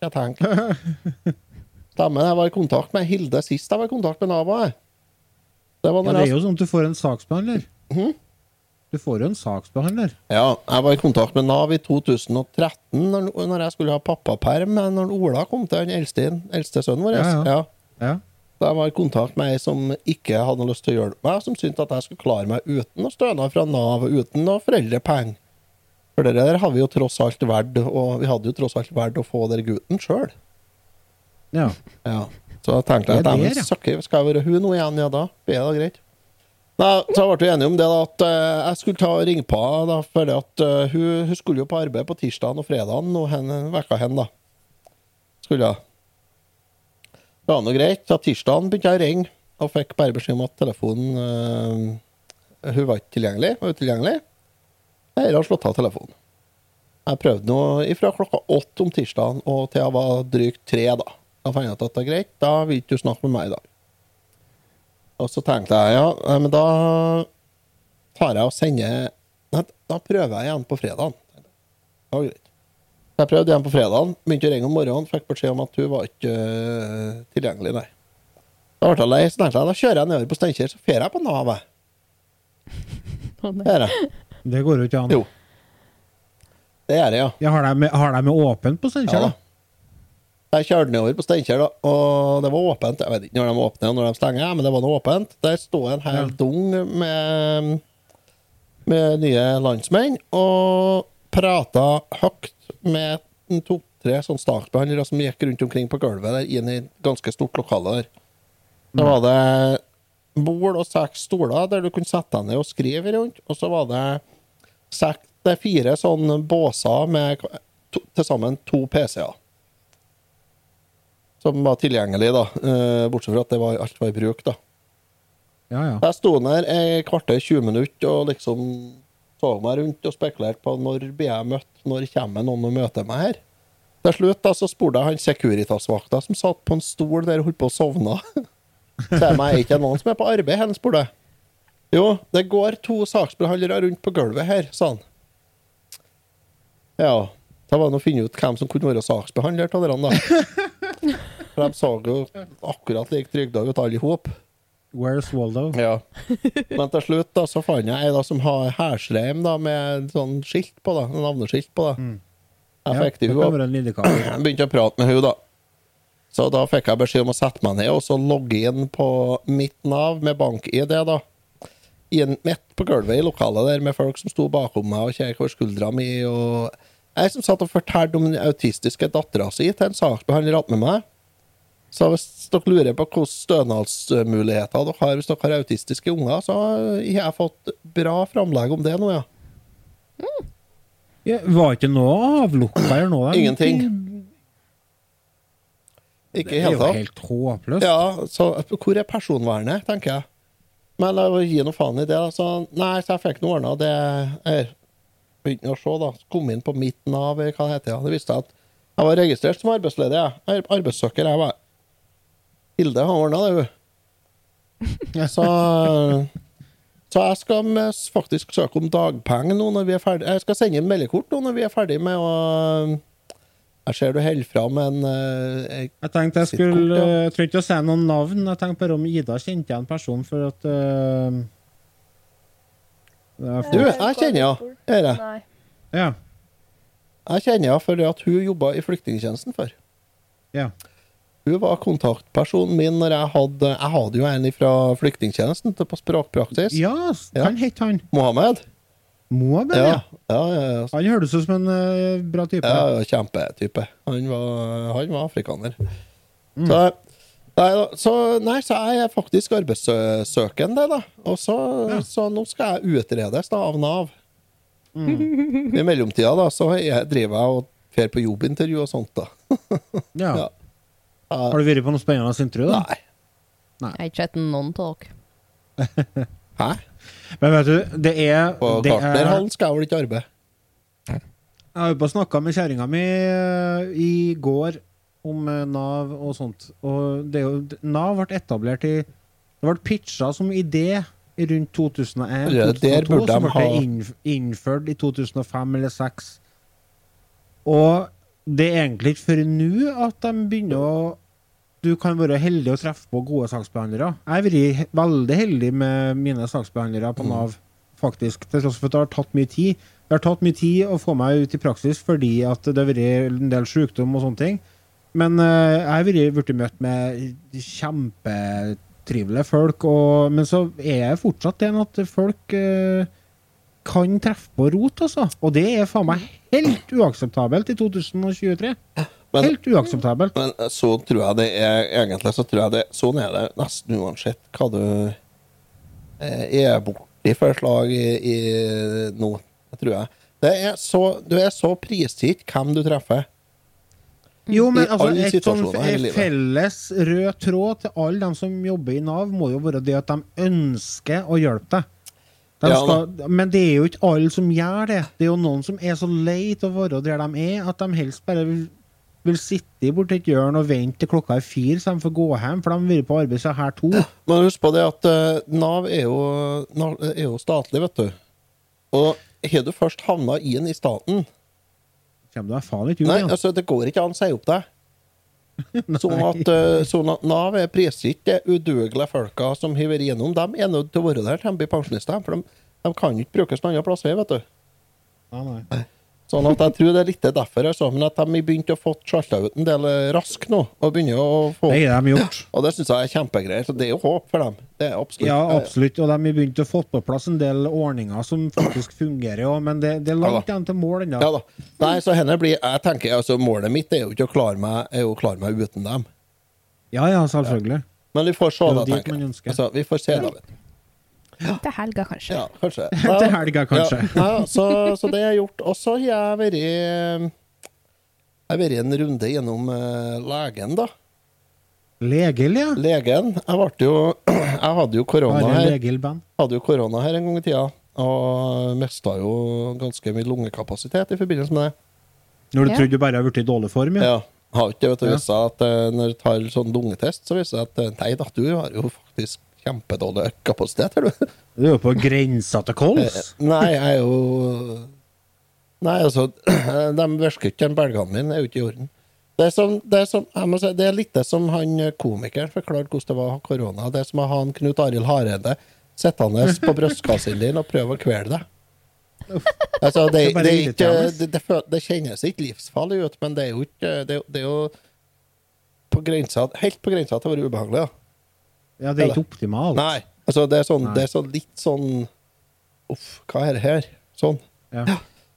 S1: Jeg tenker. Stemmer, jeg var i kontakt med Hilde sist jeg var i kontakt med Nav. også, jeg. Det var
S3: ja,
S1: når
S3: det er
S1: jeg,
S3: jo sånn at du får en saksbehandler.
S1: Hm?
S3: Du får jo en saksbehandler.
S1: ja, jeg var i kontakt med Nav i 2013, når, når jeg skulle ha pappaperm, men når Ola kom til, han eldste, eldste sønnen vår.
S3: Ja, ja.
S1: Ja.
S3: Ja.
S1: Da jeg var i kontakt med ei som ikke hadde lyst til å hjelpe meg, som syntes at jeg skulle klare meg uten noe stønad fra Nav, og uten noe foreldrepenger. For det der har vi jo tross alt valgt, og vi hadde jo tross alt valgt å få den gutten sjøl.
S3: ja.
S1: Ja. Så da tenkte jeg at
S3: Det er der,
S1: dæven
S3: ja.
S1: søkker, skal jeg være hun nå igjen? Ja da, det er da greit. Nei, så ble vi enige om det da, at eh, jeg skulle ta og ringe på henne, da, for at, eh, hun, hun skulle jo på arbeid på tirsdagen og fredagen og henne, vekka hen, da. Skulle hun. Det var nå greit. Da tirsdagen begynte jeg å ringe, og fikk bare beskjed om at telefonen eh, Hun var ikke tilgjengelig. Var utilgjengelig. Eier har slått av telefonen. Jeg prøvde nå ifra klokka åtte om tirsdagen og til jeg var drygt tre, da. Da fant jeg ut at det er greit, da vil ikke du snakke med meg i dag. Og så tenkte jeg ja, nei, men da tar jeg og sender Nei, da prøver jeg igjen på fredagen. Det var greit. Så Jeg prøvde igjen på fredagen, begynte å ringe om morgenen, fikk beskjed om at hun var ikke øh, tilgjengelig, nei. Da ble jeg lei, så tenkte jeg da kjører jeg nedover på Steinkjer, så fer jeg på Nav, jeg.
S4: Å, nei.
S1: Det gjør jeg.
S3: Det går jo ikke an.
S1: Jo. Det gjør jeg, ja.
S3: Ja, har de med, har de med åpent på
S1: Ja
S3: Steinkjer,
S1: da.
S3: da?
S1: Jeg kjørte nedover på Steinkjer, da, og det var åpent. Jeg vet ikke når de åpner og når de stenger, ja, men det var noe åpent. Der sto en hel
S3: Ja.
S1: dung med, med nye landsmenn og prata høyt med en to-tre sånn startbehandlere som gikk rundt omkring på gulvet der inn i et ganske stort lokale der. Da var det bord og seks stoler der du kunne sette deg ned og skrive rundt, og så var det sånn sek- det er fire sånne båser med k- to- til sammen to PC-er. som var tilgjengelig, da. Eh, bortsett fra at det var alt var i bruk, da.
S3: Ja, ja.
S1: Jeg sto der i kvarter 20 minutter og liksom så meg rundt og spekulerte på når blir jeg møtt, når kommer noen og møter meg her. Til slutt da, så spurte jeg han Securitas-vakta som satt på en stol der og holdt på å sovne. Ser meg er ikke det noen som er på arbeid her, spurte jeg. Jo, det går to saksbehandlere rundt på gulvet her, sa han. Ja, det var nå å finne ut hvem som kunne være saksbehandler av dere, da. For de så jo akkurat like trygda ut, alle i hop.
S3: Where's Waldo?
S1: Ja. Men til slutt da, så fant jeg ei da som har hærsleim da, med sånn skilt på, da, en navneskilt på. da. Jeg fikk det i
S3: da
S1: henne.
S3: kommer en lille kar.
S1: Jeg begynte å prate med hun da. Så da fikk jeg beskjed om å sette meg ned og så logge inn på mitt Nav med bank-ID, da. I en, midt på gulvet i lokalet der med folk som sto bakom meg og kjekk over skuldra mi. og Jeg som satt og fortalte om den autistiske dattera si til en saksbehandler attmed meg. Så hvis dere lurer på hvilke stønadsmuligheter dere har hvis dere har autistiske unger, så har jeg fått bra framlegg om det nå, ja.
S3: Ja, var ikke noe avlukka eller noe? der?
S1: Ingenting. Ikke i
S3: Det er
S1: hele
S3: jo
S1: tatt.
S3: helt håpløst.
S1: Ja, så hvor er personvernet, tenker jeg. Men la meg gi noe faen i det. da. Så, nei, så jeg fikk noe ordna. Det jeg begynte å se, da. Så Kom inn på midten av hva det heter. Ja. Det viste seg at jeg var registrert som arbeidsledig. jeg. Ar- Arbeidssøker. Jeg var Hilde har ordna det, hun. Så så jeg skal med- faktisk søke om dagpenger nå når vi er ferdig. Jeg skal sende inn meldekort nå når vi er ferdig med å Jeg ser du holder fram en eh,
S3: Jeg tenkte jeg
S1: Sitt kort,
S3: skulle
S1: ja.
S3: eh, Jeg trengte ikke å si noen navn. Jeg tenkte bare om Ida kjente igjen personen, for at eh, det er
S1: Du,
S3: for-
S1: jeg kjenner henne. Gjør jeg.
S4: Nei.
S3: Ja.
S1: Jeg kjenner henne fordi at hun jobba i flyktningtjenesten før.
S3: ja.
S1: Hun var kontaktpersonen min når jeg hadde Jeg hadde jo en fra flyktningtjenesten til på språkpraksis.
S3: Ja, s-
S1: Ja.
S3: han het han.
S1: Mohammed.
S3: Mohammed, ja.
S1: Ja, ja, ja, ja.
S3: Han høres ut som en eh, bra type.
S1: ja, ja kjempetype. Han var, han var afrikaner.
S3: Mm.
S1: Så, nei, da, så, nei, så jeg er faktisk arbeidssøkende, da. Og så, så nå skal jeg utredes da, av Nav.
S3: Mm.
S1: I mellomtida da, så jeg driver jeg og drar på jobbintervju og sånt, da.
S3: Ja.
S1: Ja.
S3: Har du vært på noe spennende intervju, da?
S1: Nei.
S4: Jeg har ikke sett noen av dere.
S1: Hæ?
S3: Men vet du, det er,
S1: På
S3: det er
S1: Gartnerhallen skal jeg vel ikke arbeide?
S3: Jeg var jo på og snakka med kjerringa mi eh, i går om eh, Nav og sånt. Og det er jo, Nav ble etablert i Det ble pitcha som idé i rundt 2001-2002.
S1: Ja, der burde de
S3: så ble det
S1: ha-
S3: innf innført i 2005 eller 2006. Og det er egentlig ikke før nå at de begynner å du kan være heldig å treffe på gode saksbehandlere. Jeg har vært he- veldig heldig med mine saksbehandlere
S1: Mm.
S3: på Nav, faktisk. Til tross for at det har tatt mye tid. Det har tatt mye tid å få meg ut i praksis fordi at det har vært en del sykdom og sånne ting. Men eh, jeg har vært- blitt møtt med kjempetrivelige folk, og, men så er jeg fortsatt den at folk eh, kan treffe på rot, altså. Og det er faen meg helt uakseptabelt i 2023.
S1: Men-
S3: helt uakseptabelt.
S1: Men så tror jeg det er Egentlig så tror jeg det Sånn er det nesten uansett hva du eh, er borti for slag i, i nå, det tror jeg. Det er så, du er så prisgitt hvem du treffer.
S3: Jo, men
S1: I
S3: altså,
S1: alle
S3: et sånn
S1: situasjoner her i
S3: en
S1: livet.
S3: felles rød tråd til alle dem som jobber i Nav, må jo være det at de ønsker å hjelpe deg. De
S1: Ja,
S3: skal, men det er jo ikke alle som gjør det. Det er jo noen som er så lei av å være der de er, at de helst bare vil, vil sitte borti et hjørne og vente til klokka er fire, så de får gå hjem, for de har vært på arbeid siden her to.
S1: Men husk på det at eh, Nav er jo, Nav er jo statlig, vet du. Og har du først havna inn i staten
S3: Kommer du deg faen ikke ut
S1: Nei,
S3: igjen?
S1: altså, det går ikke an å si opp deg. Sånn at, eh, sånn at Nav er prisgitt de udødelige folka som hiver gjennom. De er nødt til å være der til de blir pensjonister, for de, de kan jo ikke brukes noen andre plasser. vet du.
S3: Nei, nei.
S1: Sånn at jeg tror det er litt derfor, altså. Men at de har begynt å få sjalta ut en del eh, rask nå, og begynner å få
S3: Det har de gjort.
S1: Og det syns jeg er kjempegreier. Så det er jo håp for dem. Det er absolutt.
S3: Ja, absolutt. Og de har begynt å få på plass en del ordninger som faktisk fungerer, ja, men det, det er langt
S1: Ja
S3: igjen til mål ennå.
S1: Eh, Ja da. Nei, så henne blir Jeg tenker altså, målet mitt er jo ikke å klare meg, er jo å klare meg uten dem.
S3: Ja, ja, selvfølgelig.
S1: Men vi får se,
S3: Det er jo
S1: da,
S3: dit
S1: tenker
S3: man
S1: jeg.
S3: ønsker.
S1: Altså, vi får se, da. vet du.
S4: Til helga, kanskje.
S1: Ja, kanskje.
S3: Til helga, kanskje.
S1: Ja, ja, så, så det har jeg gjort. Og så har jeg vært Jeg har vært en runde gjennom eh, legen, da.
S3: Legil, ja.
S1: Legen Jeg ble jo Jeg hadde jo korona
S3: Are
S1: her
S3: Legil-band.
S1: Hadde jo korona her en gang i tida. Og mista jo ganske mye lungekapasitet i forbindelse med det.
S3: Når du
S4: Ja.
S3: trodde du bare hadde vært i dårlig form, ja.
S1: Ja. Har ikke det, vet du.
S3: Ja.
S1: Vist seg at eh, når du tar sånn lungetest, så viser det seg at eh, nei da, du har jo faktisk kjempedårlig kapasitet, har du.
S3: Du er jo på grensa til kols.
S1: Eh, Nei, jeg er jo Nei, altså, de virker ikke, den belgene mine er jo ikke i orden. Det er, som, det, er som, jeg må si, det er litt det som han komikeren forklarte hvordan det var å ha korona. Det er som å ha han Knut Arild Hareide sittende på brystkassen din og prøve å kvele deg. Altså, det,
S3: Det er bare
S1: det, er ikke,
S3: irriterende.
S1: det, det, fø- det kjennes ikke livsfarlig ut, men det er jo ikke Det, er jo- det er jo på grensa, helt på grensa til å være ubehagelig. Ja.
S3: Ja, det er ikke optimalt.
S1: Nei. Altså, det er, sånn,
S3: Nei.
S1: det er sånn litt sånn Uff, hva er det her? Sånn.
S3: Ja.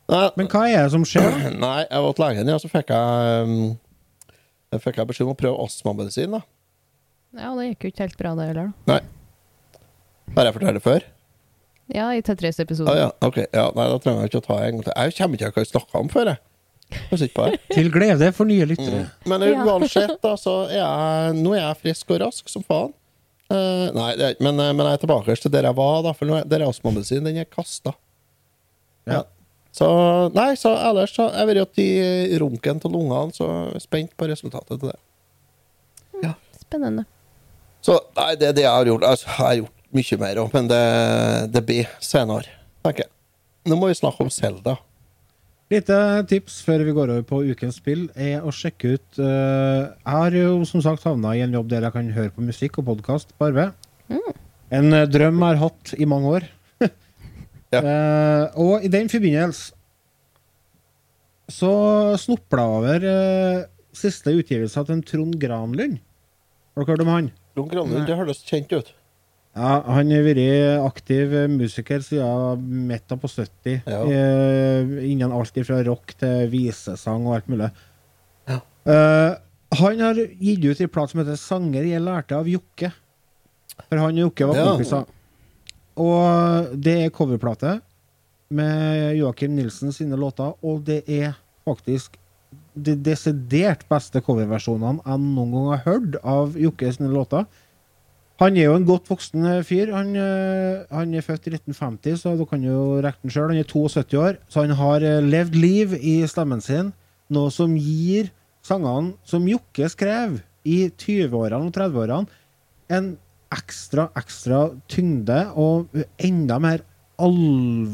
S1: Nei,
S3: Men hva er det som skjer? da?
S1: nei jeg var til legen, ja, så fikk jeg um, jeg fikk jeg beskjed om å prøve astmamedisin. da.
S4: Ja, det gikk jo ikke helt bra, det heller. da.
S1: Nei. Har jeg fortalt det før?
S4: Ja, i Tetris-episoden.
S1: Ah, ja, ok. Ja, nei, da trenger jeg ikke å ta en gang til. Jeg kommer ikke til hva jeg snakker om før, jeg. jeg. sitter på her.
S3: Til glede for nye lyttere.
S1: Men
S4: Ja.
S1: uansett, da, så er jeg, nå er jeg frisk og rask som faen. Eh, nei, det er, ikke- men, men jeg er tilbake til der jeg var, da, for nå er, der er astmamedisin. Den er kasta.
S3: Ja.
S1: Så nei, så ellers så har jeg vært i runken til lungene, så jeg er spent på resultatet til det.
S4: Spennende.
S1: Så nei, det er det jeg har gjort. Altså, jeg har gjort mye mer òg, men det, det blir senere, tenker jeg. Nå må vi snakke om Selda.
S3: Lite tips før vi går over på ukens spill, er å sjekke ut eh, Jeg har jo som sagt havna i en jobb der jeg kan høre på musikk og podkast på arbeid. En eh, drøm jeg har hatt i mange år.
S1: Ja.
S3: Eh, og i den forbindelse så snopla jeg over eh, siste utgivelse av en Trond Granlund. Har dere hørt om han?
S1: Ron Granlund, det høres kjent ut.
S3: Ja, Han har vært aktiv musiker siden midten på 70.
S1: Ja.
S3: Eh, innen alt fra rock til visesang og alt mulig.
S1: Ja.
S3: Eh, han har gitt ut en plate som heter 'Sanger jeg lærte av Jokke'. For han og Jokke var
S1: Ja.
S3: kompiser. Og det er coverplate med Joakim Nilsen sine låter, og det er faktisk de desidert beste coverversjonene jeg noen gang har hørt av Jokke sine låter. Han er jo en godt voksen eh, fyr. Han, eh, han er født i 1950, så du kan jo regne den sjøl. Han er 72 år, så han har eh, levd liv i stemmen sin. Noe som gir sangene som Jokke skrev i 20-årene og 30-årene, en ekstra, ekstra tyngde og enda mer alv...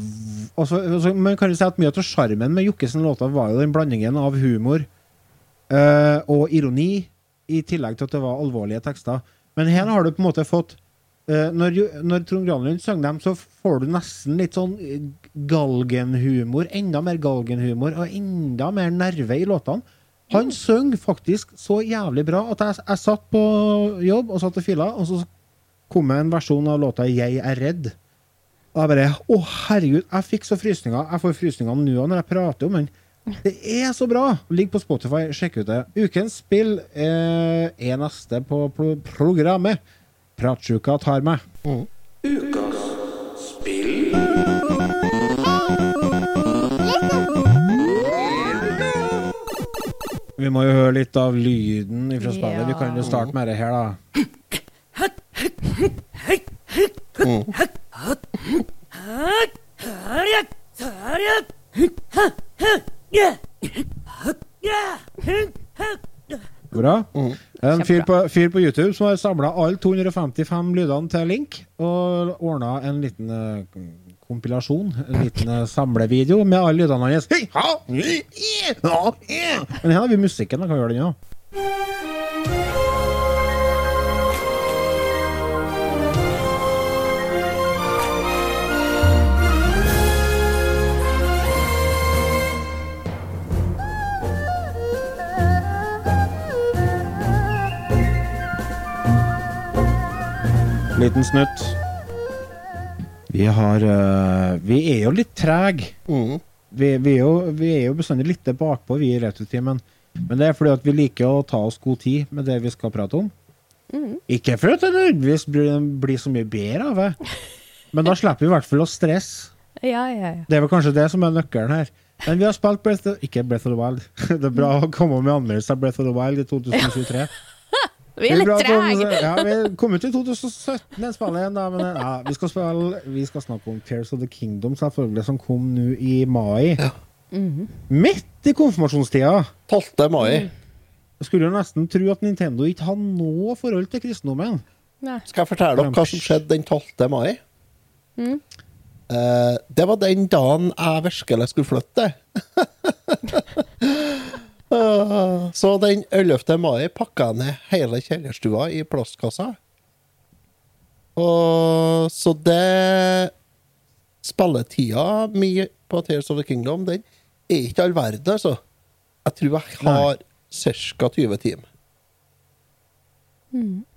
S3: Altså, altså, man kan jo si at mye av sjarmen med Jokke sine låter var jo den blandingen av humor eh, og ironi, i tillegg til at det var alvorlige tekster. Men her har du på en måte fått eh, når, Jo- når Trond Granlund sang dem, så får du nesten litt sånn eh, galgenhumor. Enda mer galgenhumor og enda mer nerve i låtene. Han søng faktisk så jævlig bra at jeg, jeg satt på jobb og satt og fila, og så kom det en versjon av låta 'Jeg er redd'. Og jeg bare Å, herregud, jeg fikk så frysninger. Jeg får frysninger nå også når jeg prater om den. Det er så bra! Ligg på Spotify, sjekk ut det. Ukens spill eh, er neste på pro programmet. Pratsjuka tar meg. Vi må jo høre litt av lyden fra spillet.
S4: Ja.
S3: Vi kan jo starte med det her, da. Bra. En fyr på, fyr på YouTube som har samla alle 255 lydene til Link, og ordna en liten eh, kompilasjon, en liten eh, samlevideo med alle lydene hans. Hei, ha, hi, i, ha, i. Men her har vi musikken, da kan vi gjøre den òg. Liten snutt. Vi har eh, Vi er jo litt trege.
S1: Mm.
S3: Vi, vi, er jo- vi er jo bestandig litt bakpå, vi i Retrotimen. Men det er fordi at vi liker å ta oss god tid med det vi skal prate om. Ikke for at det nødvendigvis blir, blir så mye bedre av det, men da slipper vi i hvert fall å stresse.
S4: Ja, ja, ja.
S3: Det er vel kanskje det som er nøkkelen her. Men vi har spilt Breath of, Ikke Breath of the Wild. Det er bra å komme med anmeldelse av Breath of the Wild i 2023.
S7: Vi er litt trege.
S3: sånn, Ja, vi kom ut i 2017, den spillet igjen, da. Men ja, vi, skal spille, vi skal snakke om Tears of the Kingdom, selvfølgelig, som kom nå i mai.
S7: Mhm.
S3: Midt i konfirmasjonstida!
S1: 12. mai.
S3: Skulle jo nesten tro at Nintendo ikke hadde noe forhold til kristendommen.
S1: Skal jeg fortelle dere hva som skjedde den 12. mai?
S4: Mm.
S1: Eh, det var den dagen jeg virkelig skulle flytte. Eh, Så den 11. mai pakka jeg ned hele kjellerstua i plastkassa. Og så det Spilletida mi på Tears of the Kingdom den er ikke all verden, altså. Jeg tror jeg har ca. 20 timer.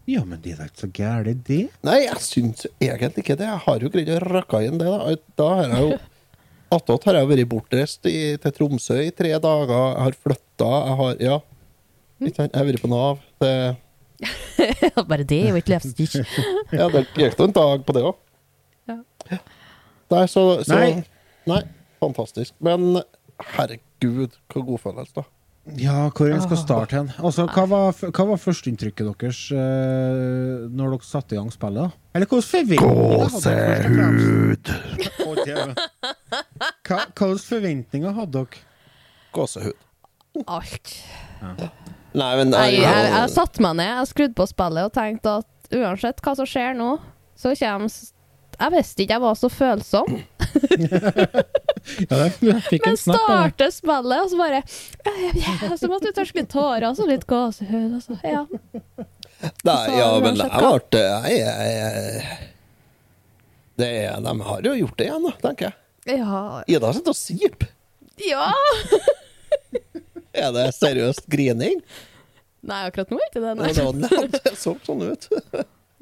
S3: Ja, men det er da ikke så gærent, det.
S1: Nei, jeg syns egentlig ikke det. Jeg har jo greid å rakke inn det. Da Da har jeg jo Attåt har jeg vært bortreist i, til Tromsø i tre dager. Jeg har flytta, jeg har Ja. Ikke sant? Jeg har vært på Nav. Det,
S4: Bare det er jo ikke livsstil.
S1: ja, det gikk da en dag på det òg.
S4: Ja.
S1: Nei, så, så
S3: Nei.
S1: Nei. Fantastisk. Men herregud, hvor god følelse, da.
S3: Ja, hvor en skal
S4: Åh.
S3: starte hen. Altså, hva var, hva var førsteinntrykket deres eh, når dere satte i gang spillet? da? Eller hvordan forventninger hadde dere? Gåsehud! Hvilke forventninger hadde dere?
S1: Gåsehud.
S4: Alt.
S1: Nei, men
S4: Nei, jeg, jeg,
S1: ja.
S4: satte meg ned, jeg skrudde på spillet og tenkte at uansett hva som skjer nå, så kommer s- Jeg visste ikke jeg var så følsom.
S8: Ja, det, jeg fikk en
S4: Men
S8: snap av det.
S4: starter spillet, og så bare Og så måtte du tørske litt tårer og så litt gåsehud. Og så, ja.
S1: Nei, ja,
S4: Så
S1: men
S4: uansett
S1: jeg
S4: hva-
S1: ble jeg, jeg, jeg, det, er- De har jo gjort det igjen, da, tenker jeg.
S4: ja.
S1: Ida sitter og siper.
S4: Ja!
S1: Er det seriøst grining?
S4: Nei, akkurat nå er ikke det
S1: Ja,
S4: nei.
S1: det var nært. Det så sånn ut.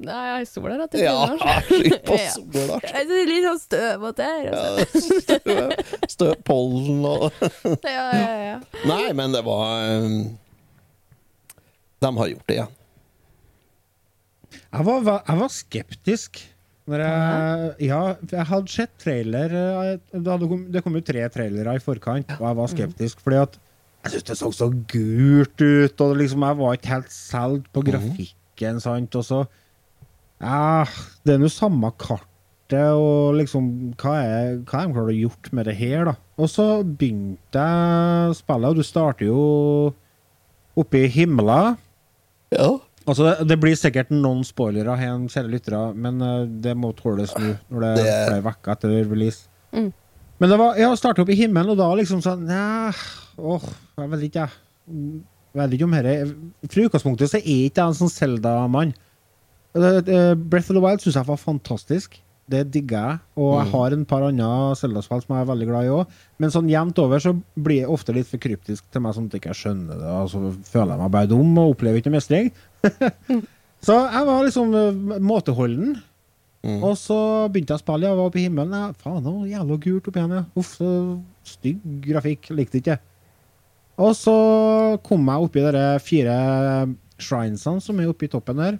S4: Nei, jeg har sol her. at jeg
S1: Ja,
S4: begynner, så.
S1: skyt på sola.
S4: Jeg er litt sånn støvete her.
S1: Ja,
S4: altså.
S1: støv- Støv, pollen og
S4: Ja, ja, ja.
S1: Nei, men det var um, De har gjort det igjen.
S3: Jeg var, ve- jeg var skeptisk. Når jeg, ja, jeg hadde sett trailer eh, Det, hadde kom, det kom jo tre trailere i forkant, og jeg var skeptisk fordi at jeg syntes det så så gult ut, og liksom, jeg var ikke helt solgt på grafikken. sant, og så ja, Det er nå samme kartet, og liksom Hva er hva er de klarer å gjort med det her, da? Og så begynte jeg spillet, og du starter jo oppe i himmelen.
S1: Ja.
S3: Altså, det, det blir sikkert noen spoilere, hen, kjære lyttere, men eh, det må tåles nå. Når det
S1: Det-
S3: er flere uker etter release.
S4: Mm.
S3: Men det var, ja, starta opp i himmelen, og da liksom sånn Næh, åh, jeg vet ikke, jeg. Jeg vet ikke om dette Fra utgangspunktet så er ikke jeg en sånn Zelda-mann. Det- det- Breath of the Wild syns jeg var fantastisk. Det digger jeg. Og jeg har en par andre Zelda-spill som jeg er veldig glad i òg. Men sånn jevnt over så blir jeg ofte litt for kryptisk til meg, sånn at jeg ikke skjønner det. Og så føler jeg meg bare dum og opplever ikke noe mestring. så jeg var liksom eh, måteholden. Og så begynte jeg å spille, jeg var oppe i himmelen. Jeg, Faen, det var jævla gult opp igjen, ja. Uff, så stygg grafikk. Likte ikke. Og så kom jeg oppi de fire shrinesene som er oppi toppen der.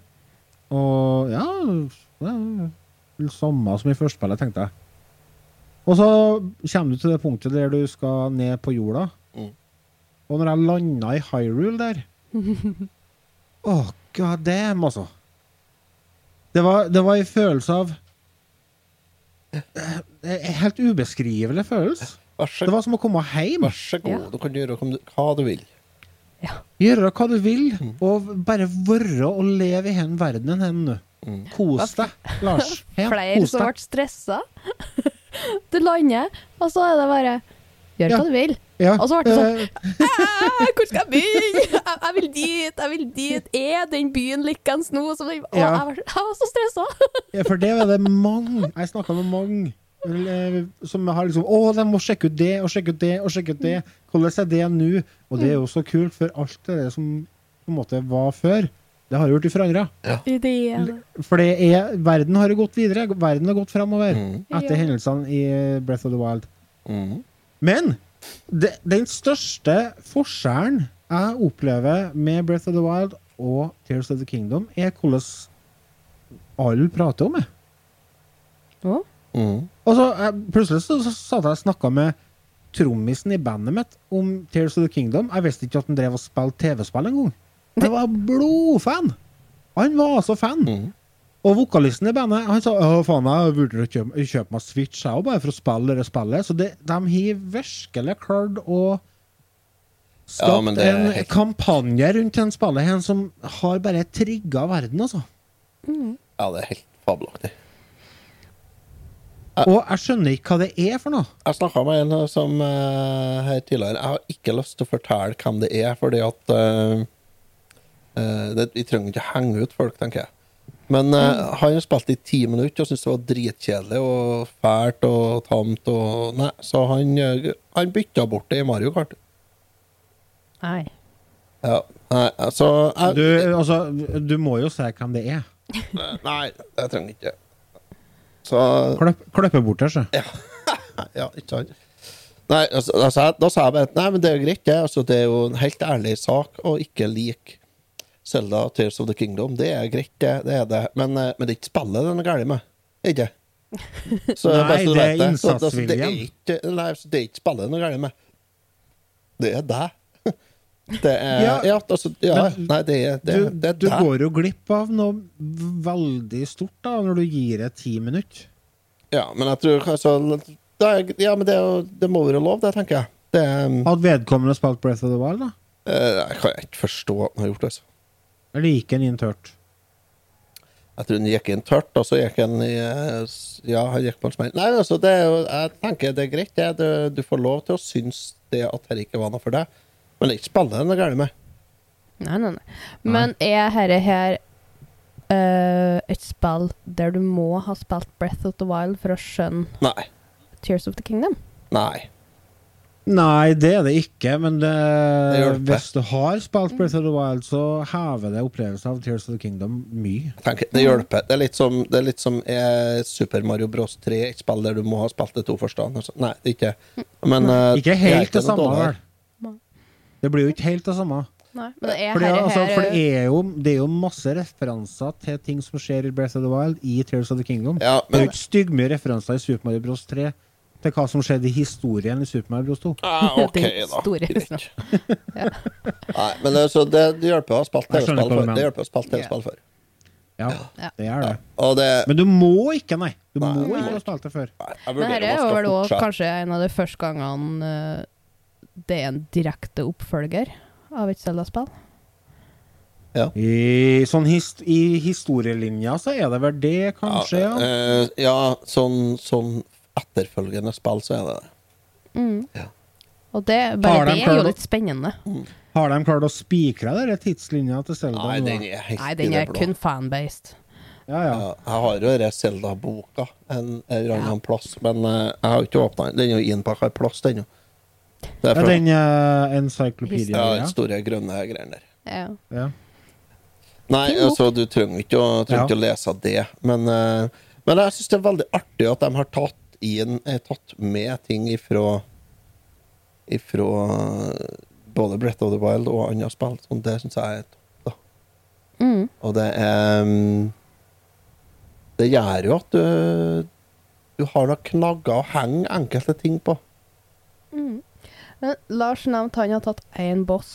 S3: Og ja det er vel Samme som i førstespillet, tenkte jeg. Og så kommer du til det punktet der du skal ned på jorda.
S1: Mm.
S3: Og når jeg landa i Hyrule der Å, god damn, altså. Det var, det var en følelse av eh, En helt ubeskrivelig følelse.
S1: Vær så,
S3: Det var som å komme hjem.
S1: vær så god.
S4: Ja.
S1: Du kan gjøre hva du- hva du vil.
S3: Gjøre hva du vil, og bare være og leve i den verdenen her nå. Kos deg, Lars. Ja,
S4: Mm. Flere
S3: kos
S4: som
S3: deg.
S4: ble stressa. Du lander, og så er det bare Gjør
S3: Ja.
S4: hva du vil.
S3: Ja,
S4: Og så ble det sånn,
S3: eh,
S4: «Æ, Ah, Hvor skal jeg begynne? Jeg, jeg vil dit, jeg vil dit. Er den byen likens nå? Som den, å,
S3: Ja.
S4: jeg, var, jeg var så stressa.
S3: Ja, for det var det mange. Jeg snakka med mange eh, som har liksom Å, de må sjekke ut det og sjekke ut det og sjekke ut det. Hvordan er det nå? Og det er jo så kult, for alt det der som på en måte var før, det har jo blitt forandra.
S4: Ideen.
S3: For det er, verden har jo gått videre. Verden har gått framover
S1: Mm.
S3: etter
S4: Ja.
S3: hendelsene i Breath of the Wild. Men det, den største forskjellen jeg opplever med Breath of the Wild og Tears of the Kingdom, er hvordan alle prater om det.
S4: Å?
S1: Mm.
S3: Og så jeg, plutselig så, så satt jeg og snakka med trommisen i bandet mitt om Tears of the Kingdom. Jeg visste ikke at han drev og spilte TV-spill engang. Jeg var blodfan! Han var altså fan.
S1: Mhm.
S3: Og vokalisten i bandet han sa å faen, jeg burde kjøpe, kjøpe meg Switch jeg òg, bare for å spille det spillet. Så det, de har virkelig klart å
S1: Ja,
S3: skape
S1: men det er
S3: en
S1: helt-
S3: kampanje rundt den spillet her som har bare trigga verden, altså.
S1: Ja, det er helt fabelaktig.
S3: Og jeg skjønner ikke hva det er for noe.
S1: Jeg snakka med en som eh, her tidligere Jeg har ikke lyst til å fortelle hvem det er, fordi at eh, eh, det, Vi trenger ikke henge ut folk, tenker jeg. Men eh, han spilte i ti minutter og syntes det var dritkjedelig og fælt og tamt. Og, nei, så han, eh, han bytta bort det i Mario Kart.
S4: Nei.
S1: Ja, nei, altså jeg,
S3: Du, altså, du må jo se hvem det er.
S1: Nei, jeg trenger ikke Så
S3: Kløpp, kløppe bort det, så.
S1: Ja, ikke sant? Nei, altså, da sa jeg- da sa jeg bare at nei, men det er jo greit, det. Altså, det er jo en helt ærlig sak å ikke like Selda Tears of the Kingdom. Det er greit, det. det, er det. Men, eh, men det er ikke spillet den er gæren med. Ikke så,
S3: Nei,
S1: bare så du
S3: det er
S1: vet Så- altså, det er
S3: innsatsviljen.
S1: ikke- Nei, så det er ikke spillet den er gæren med. Det er deg. Det er Ja,
S3: Ja,
S1: altså, ja
S3: men
S1: Nei, det er det.
S3: Du,
S1: er- det er
S3: du
S1: deg.
S3: går jo glipp av noe veldig stort da, når du gir det ti minutter.
S1: Ja, men jeg tror altså, det er, Ja, men det, er jo- det må være lov, det, tenker jeg. Det um,
S3: Hadde vedkommende spilt Breath of the Wild, da?
S1: eh, Jeg kan ikke forstå at han har gjort det. Altså.
S3: Eller gikk han inn tørt?
S1: Jeg tror han gikk inn tørt, og så gikk han i eh, s- Ja, han gikk på en smell. Nei, altså, det er jo Jeg tenker det er greit, det. Du, du får lov til å synes det at dette ikke var noe for deg. Men det er ikke spillet det er galt med.
S4: Nei, nei, nei. Men er herre her eh, et spill der du må ha spilt Breath of the Wild for å skjønne
S1: Nei.
S4: Tears of the Kingdom?
S1: Nei.
S3: Nei, det er det ikke, men det,
S1: Det hjelper.
S3: hvis du har spilt Breath of the Wild, så hever det opplevelsen av Tears of the Kingdom mye.
S1: Jeg Tenker, det hjelper. Det er litt som, det er litt som eh, Super Mario Bros. 3, et spill der du må ha spilt de to første. Altså. Nei, det er ikke Men eh,
S3: Ikke
S1: jeg er
S3: helt det
S1: noe
S3: samme,
S1: dårligere.
S4: Nei.
S3: vel? Det blir jo ikke helt det samme.
S4: Nei. Men er
S3: For det,
S4: herre
S3: er-
S4: her
S3: altså, for det, er jo, det er jo masse referanser til ting som skjer i Breath of the Wild i Tears of the Kingdom.
S1: Ja,
S3: Det er
S1: men
S3: jo ikke styggmye referanser i Super Mario Bros 3 til hva som skjedde i historien i Super Mario Bros 2.
S1: ah, OK,
S4: Det er
S1: da.
S4: store
S1: Greit.
S4: Ja.
S1: Nei, men altså, det, det hjelper å ha spilt
S3: Jeg
S1: TV-spill
S3: skjønner hva du
S1: før.
S3: mener.
S1: Det hjelper å ha spilt
S4: Ja.
S1: TV-spill før.
S3: Ja,
S4: Ja.
S3: det er det.
S1: Og det
S3: Men du må ikke, nei. Du
S1: Nei.
S3: må
S4: Nei.
S3: ikke ha spilt det før.
S1: Nei, jeg
S4: Men
S1: vurderer om jeg
S4: dette er jo
S1: skal
S4: vel også
S1: fortsette.
S4: kanskje en av de første gangene eh, det er en direkte oppfølger av et Zelda-spill.
S3: I, sånn hist, I historielinja så er det vel det, kanskje, ja.
S1: Ja, eh, ja sånn, sånn etterfølgende spill, så er det det.
S4: Mm.
S1: Ja.
S4: Og det,
S3: Har
S4: bare
S3: de
S4: det er
S3: klart å-
S4: jo litt spennende.
S3: Har de klart å spikre denne tidslinja til Selda?
S1: Nei,
S3: nå, da?
S1: den er helt
S4: Nei, den
S1: i
S4: er
S1: det blå.
S4: kun fan-based.
S3: Ja,
S1: Ja,
S3: ja.
S1: jeg har jo denne Zelda-boka en eller annen plass, men eh, jeg har ikke åpna den. Den er jo innpakka i plast ennå. Det er
S3: ja
S1: fra ja,
S3: den uh, encyclopedia
S1: den
S3: ja.
S1: store grønne greien der.
S4: Ja.
S3: ja.
S1: Nei,
S4: Fin bok.
S1: altså, du trenger ikke å, trenger
S3: Ja.
S1: ikke å lese det, men, eh, men jeg syns det er veldig artig at de har tatt, inn, eh, tatt med ting ifra Ifra eh, både Brett of the Wild og andre spill. Sånn, det syns jeg er topp. da.
S4: Mm.
S1: Og det er mm, Det gjør jo at du, du har noen knagger å henge enkelte ting på.
S4: Mm. Men Lars nevnte han har tatt én boss.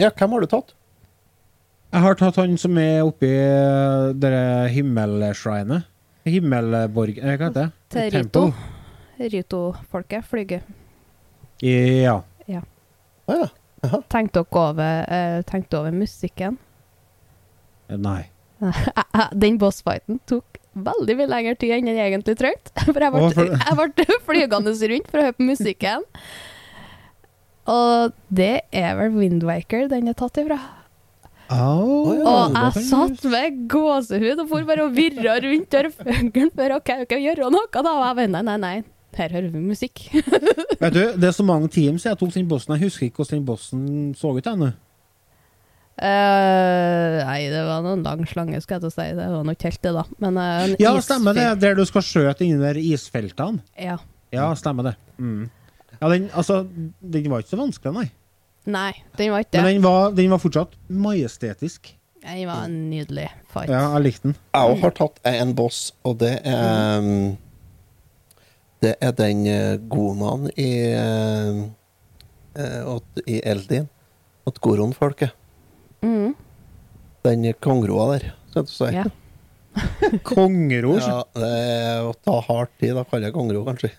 S1: Ja, hvem har du tatt?
S3: Jeg har tatt han som er oppi eh, det himmelsshrinet. Himmelborg eh, Hva heter det?
S4: Til Rito.
S3: Temple.
S4: Rito-folket flyger.
S3: Ja.
S1: Å ja.
S4: Tenk dere over, eh, tenk dere over musikken.
S3: Nei.
S4: Eh, eh, Den bossfighten tok veldig mye lengre tid enn den egentlig trengte. For jeg
S3: Å, for-
S4: ble, jeg ble flygende rundt for å høre på musikken. Og det er vel Windwaker den er tatt ifra.
S3: Au,
S4: Og
S3: det kan
S4: jeg satt med gåsehud og for bare og virra rundt der fuglen for OK, OK, gjøre noe, da. Og jeg bare nei, nei, nei. Her hører vi musikk.
S3: Vet du, Det er så mange teams jeg tok den bossen. Jeg husker ikke hvordan den bossen så ut ennå.
S4: Eh, nei, det var noen lang slange, skal jeg til å si. Det var nok helt det, da. Men eh, en
S3: Ja,
S4: isfyr-
S3: stemmer det. Der du skal skjøte inni der isfeltene.
S4: Ja.
S3: Ja, stemmer det. Mm. Ja, den, altså, den var ikke så vanskelig, nei.
S4: Nei, den var ikke
S3: Men
S4: det.
S3: den var, den var fortsatt majestetisk.
S4: Den var en nydelig fight.
S3: Ja, jeg likte den.
S1: Jeg òg har tatt en boss, og det er um, Det er den eh, gonaen i eh, eh, åt, I Eldin. Åt Goron-folket.
S4: Mm.
S1: Den kongroa der, skal du si.
S4: Ja.
S3: Kongeror.
S1: Ja, det er å ta hard tid. Da kaller jeg kongro, kanskje.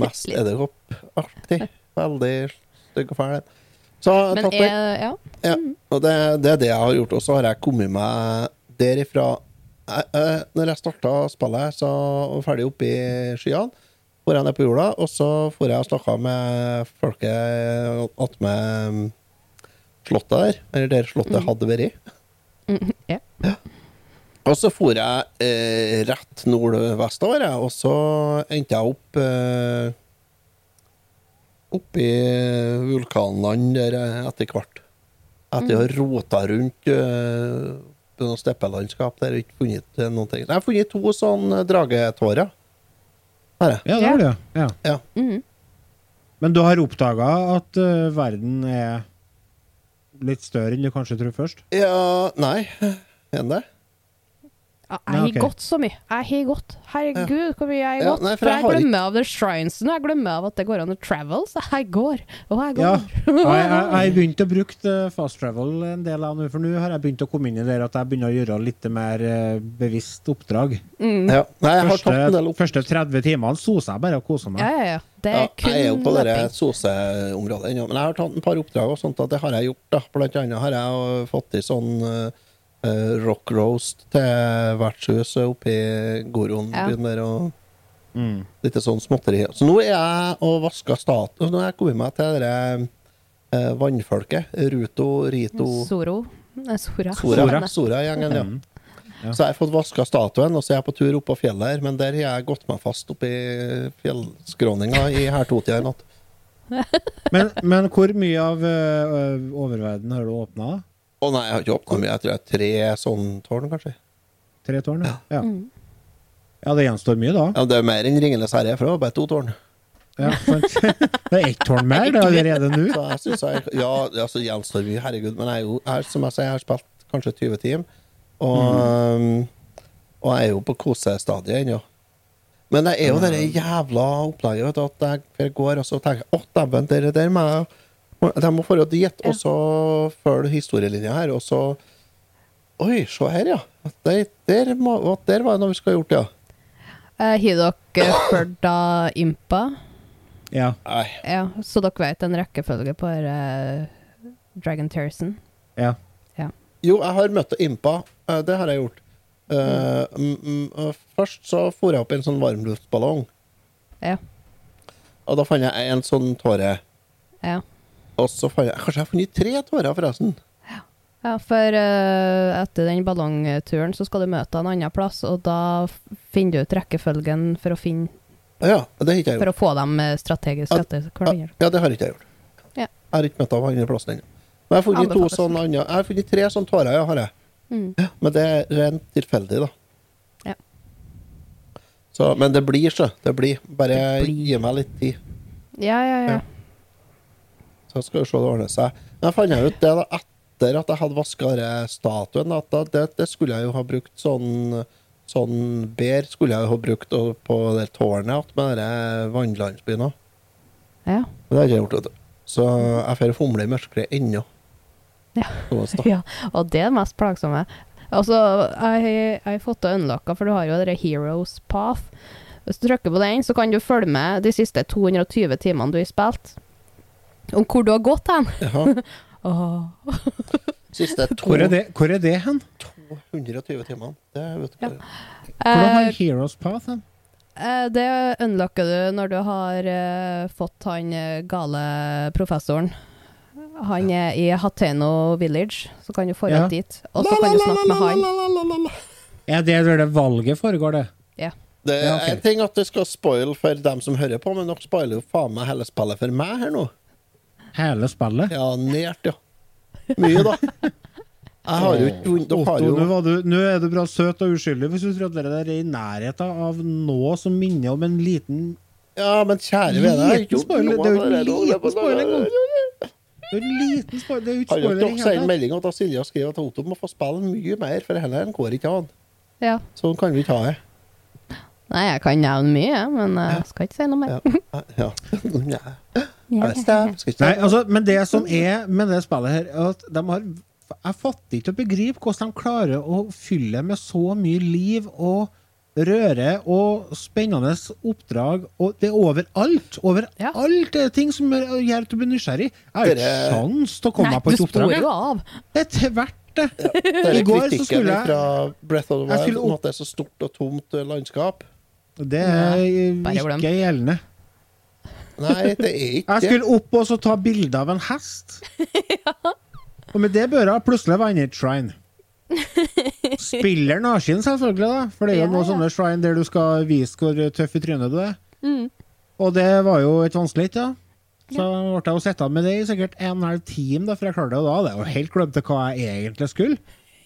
S1: Mest
S4: Litt.
S1: edderkoppaktig. Veldig stygg og fæl. en. Så jeg har
S4: Men
S1: tatt den.
S4: er, ja.
S1: Ja, og det, det er det jeg har gjort. Og så har jeg kommet meg derifra jeg, jeg, Når jeg starta spillet, så var jeg ferdig oppe i skyene. Får jeg ned på jorda, og så får jeg og snakka med folket attmed mm, slottet der. Eller der slottet hadde vært.
S4: Mm, ja.
S1: Og så for jeg eh, rett nordvestover, jeg, og så endte jeg opp eh, Oppi vulkanland der eh, etter hvert. Etter å ha rota rundt eh, på noe steppelandskap der og ikke funnet eh, noen ting. Jeg har funnet to sånne dragetårer. Her, jeg.
S3: Ja, det har du, ja. ja.
S4: Mhm.
S3: Men du har oppdaga at eh, verden er litt større enn du kanskje tror først?
S1: Ja Nei, er den det?
S4: Ja, Jeg
S3: Nei,
S4: har
S3: ok.
S4: gått så mye. Jeg har gått. Herregud, hvor mye jeg har
S1: Ja,
S4: gått.
S1: nei, for
S4: for
S1: jeg
S4: jeg
S1: har ikke-
S4: glemmer av the shrines nå. Jeg glemmer av at det går an å travel, så jeg går. Og jeg
S3: Ja.
S4: går.
S3: Jeg har begynt å bruke eh, fast travel en del av nå, for nå har jeg begynt å komme inn i det at jeg begynner å gjøre litt mer eh, bevisst oppdrag.
S1: Ja. Nei, jeg har
S3: Første,
S1: tatt en del opp.
S3: første 30 timene sosa jeg bare og kosa
S4: Ja,
S3: meg.
S4: ja, ja. Det er
S1: Ja,
S4: kun
S1: jeg er jo på det
S4: løping.
S1: soseområdet ennå, men jeg har tatt en par oppdrag, og sånt, og det har jeg gjort. da. Blant annet har jeg jo fått i sånn eh, eh, rock roast til vertshuset oppe i Goron.
S4: Ja.
S1: byen der, og
S3: Mm.
S1: litt sånn småtteri. Så nå er jeg og vasker status. Nå har jeg kommet meg til det der, eh, vannfolket. Ruto, Rito,
S4: Soro. Nei, Sora.
S1: Sora.
S4: Nei.
S1: Sora-gjengen, ja.
S3: Mm. Ja.
S1: Så jeg har fått vaska statuen, og så er jeg på tur opp på fjellet her, men der har jeg gått meg fast oppi fjellskråninga i her totida i natt.
S3: Men, men hvor mye av eh, oververden har du åpna?
S1: Å nei, jeg har ikke åpna mye. Jeg tror jeg har tre sånn tårn, kanskje.
S3: Tre tårn? Ja. Ja. ja, det gjenstår mye da.
S1: Mm. Ja, Det er mer enn Ringenes herre, for det var bare to tårn.
S3: Ja, sant. det er ett tårn mer det er allerede nå.
S1: Så jeg synes jeg, Ja, altså gjenstår mye, herregud, men jeg er jo her, som jeg sier, jeg har spilt kanskje 20 timer. Og, um, og jeg er jo på kosestadiet ennå. Men det er jo det der jævla opplegget vet du, at jeg jeg går og så tenker jeg, Å, dæven, det der må jeg De må dra dit, og så følge historielinja her, og så Oi, se her, ja. At Der, der, må, at der var det noe vi skulle ha gjort, ja.
S4: Eh, Har dere ført da Impa?
S3: Ja.
S1: Nei.
S4: Ja, så dere vet en rekkefølge på eh, Dragon Terrorsen?
S3: ja.
S1: Jo, jeg har møtt Impa. Eh, Det har jeg gjort. Eh, mm, mm, og først så for jeg opp i en sånn varmluftballong,
S4: Ja.
S1: og da fant jeg en sånn tåre.
S4: Ja.
S1: Og så fant jeg Kanskje jeg har funnet tre tårer, forresten.
S4: Ja, for eh, etter den ballongturen så skal du møte en annen plass, og da f- finner du ut rekkefølgen for å, finne,
S1: Ja, det har ikke jeg
S4: for
S1: gjort.
S4: å få dem eh, strategisk
S1: Ja,
S4: etter hverandre.
S1: Ja, det har ikke jeg gjort.
S4: Ja.
S1: Jeg har ikke møtt av andre plassen ennå. Men jeg har funnet to
S4: Anbefales.
S1: sånne andre Jeg har funnet tre sånne tårer, ja, har jeg.
S4: Mm.
S1: Ja, Men det er rent tilfeldig, da.
S4: Ja.
S1: Så, men det blir, så. Det blir. Bare
S4: Det blir.
S1: gi meg litt tid.
S4: Ja, ja, ja.
S1: Ja. Så skal vi se det ordner seg. Men jeg fant ut det da etter at jeg hadde vaska statuen, at da, det, det skulle jeg jo ha brukt sånn Sånn bær skulle jeg jo ha brukt og- på det tårnet att med den vannlandsbyen òg.
S4: ja.
S1: Det har jeg ikke gjort, vet du. Så jeg får fomle i mørket ennå.
S4: Ja.
S1: Så må jeg snakke.
S4: ja. Og det er det mest plagsomme. Altså, jeg jeg har fått det unlocka, for du har jo det der Heroes Path. Hvis du trykker på den, så kan du følge med de siste 220 timene du har spilt, om hvor du har gått hen.
S1: Jaha.
S4: Åh.
S1: Siste to,
S3: Hvor er det, hvor er det hen?
S1: 220 timene. Det vet du
S4: Ja.
S1: hva.
S3: Hvordan
S4: Eh,
S3: har Heroes Path hen?
S4: Eh, Det unlocker du når du har eh, fått han eh, gale professoren. Han er i Hateno Village, så kan du få
S3: Ja.
S4: opp dit. Og så kan du snakke med han.
S3: Ja, det er der det valget foregår, det.
S1: Det
S3: Ja,
S1: er
S3: ok.
S1: en ting at du skal spoil for dem som hører på, men dere spoiler jo faen meg hele spillet for meg her nå.
S3: Hele spillet.
S1: Ja, nært, ja. Mye, da. Jeg har jo ikke vunnet Dere
S3: Otto,
S1: har
S3: nå,
S1: jo
S3: var du, nå er du bra søt og uskyldig hvis du tror at dere er i nærheten av noe som minner om en liten
S1: Ja, men kjære vene, jeg har ikke
S3: Liten
S1: gjort
S3: spoiler,
S1: noe
S3: det er jo
S1: av det
S3: liten
S1: der.
S3: spoiler engang. En liten spoiler, det er jo ikke
S1: Har dere
S3: spoiler i
S1: dere
S3: hele
S1: sendt
S3: tatt.
S1: melding om at Silja skriver at Otto må få spille mye mer, for heller enn går ikke an.
S4: Ja.
S1: Sånn kan vi ikke ha det.
S4: Nei, jeg kan nevne mye, jeg, men eh, jeg skal ikke si noe mer.
S1: Ja. Ja. Nei. Jeg vet ikke, jeg skal ikke
S3: Nei,
S1: si det.
S3: altså, men det som er med det spillet her, er at de har f- jeg fatter ikke å begripe hvordan de klarer å fylle med så mye liv og røre og spennende oppdrag. Og det er overalt.
S4: Ja.
S3: Overalt er det ting som gjør gjør at du blir nysgjerrig. Jeg har ikke
S1: Dere-
S3: sjans til å komme
S4: Nei,
S3: meg på et
S4: du
S3: oppdrag.
S4: spår
S3: jeg.
S4: jo av.
S3: Det er til hvert, det.
S1: Det er
S3: I går så
S1: kritikken
S3: skulle jeg-
S1: fra Breath of the
S3: Jeg
S1: Wild
S3: skulle
S1: om
S3: opp-
S1: at det er så stort og tomt eh, landskap.
S3: Det er
S4: bare glem.
S3: ikke gjeldende.
S1: Nei, det er ikke
S3: Jeg skulle opp og så ta bilde av en hest. Og med det børa plutselig var jeg inne i et shrine. Spiller naken, selvfølgelig, da. For det er jo
S4: Ja,
S3: noen
S4: ja.
S3: sånne shrine der du skal vise hvor tøff i trynet du er.
S4: Mm.
S3: Og det var jo et vanskelig et, da. Så ble jeg jo sittende med det i sikkert en og en halv time da, før jeg klarte det. Og da hadde jeg jo helt glemt hva jeg egentlig skulle.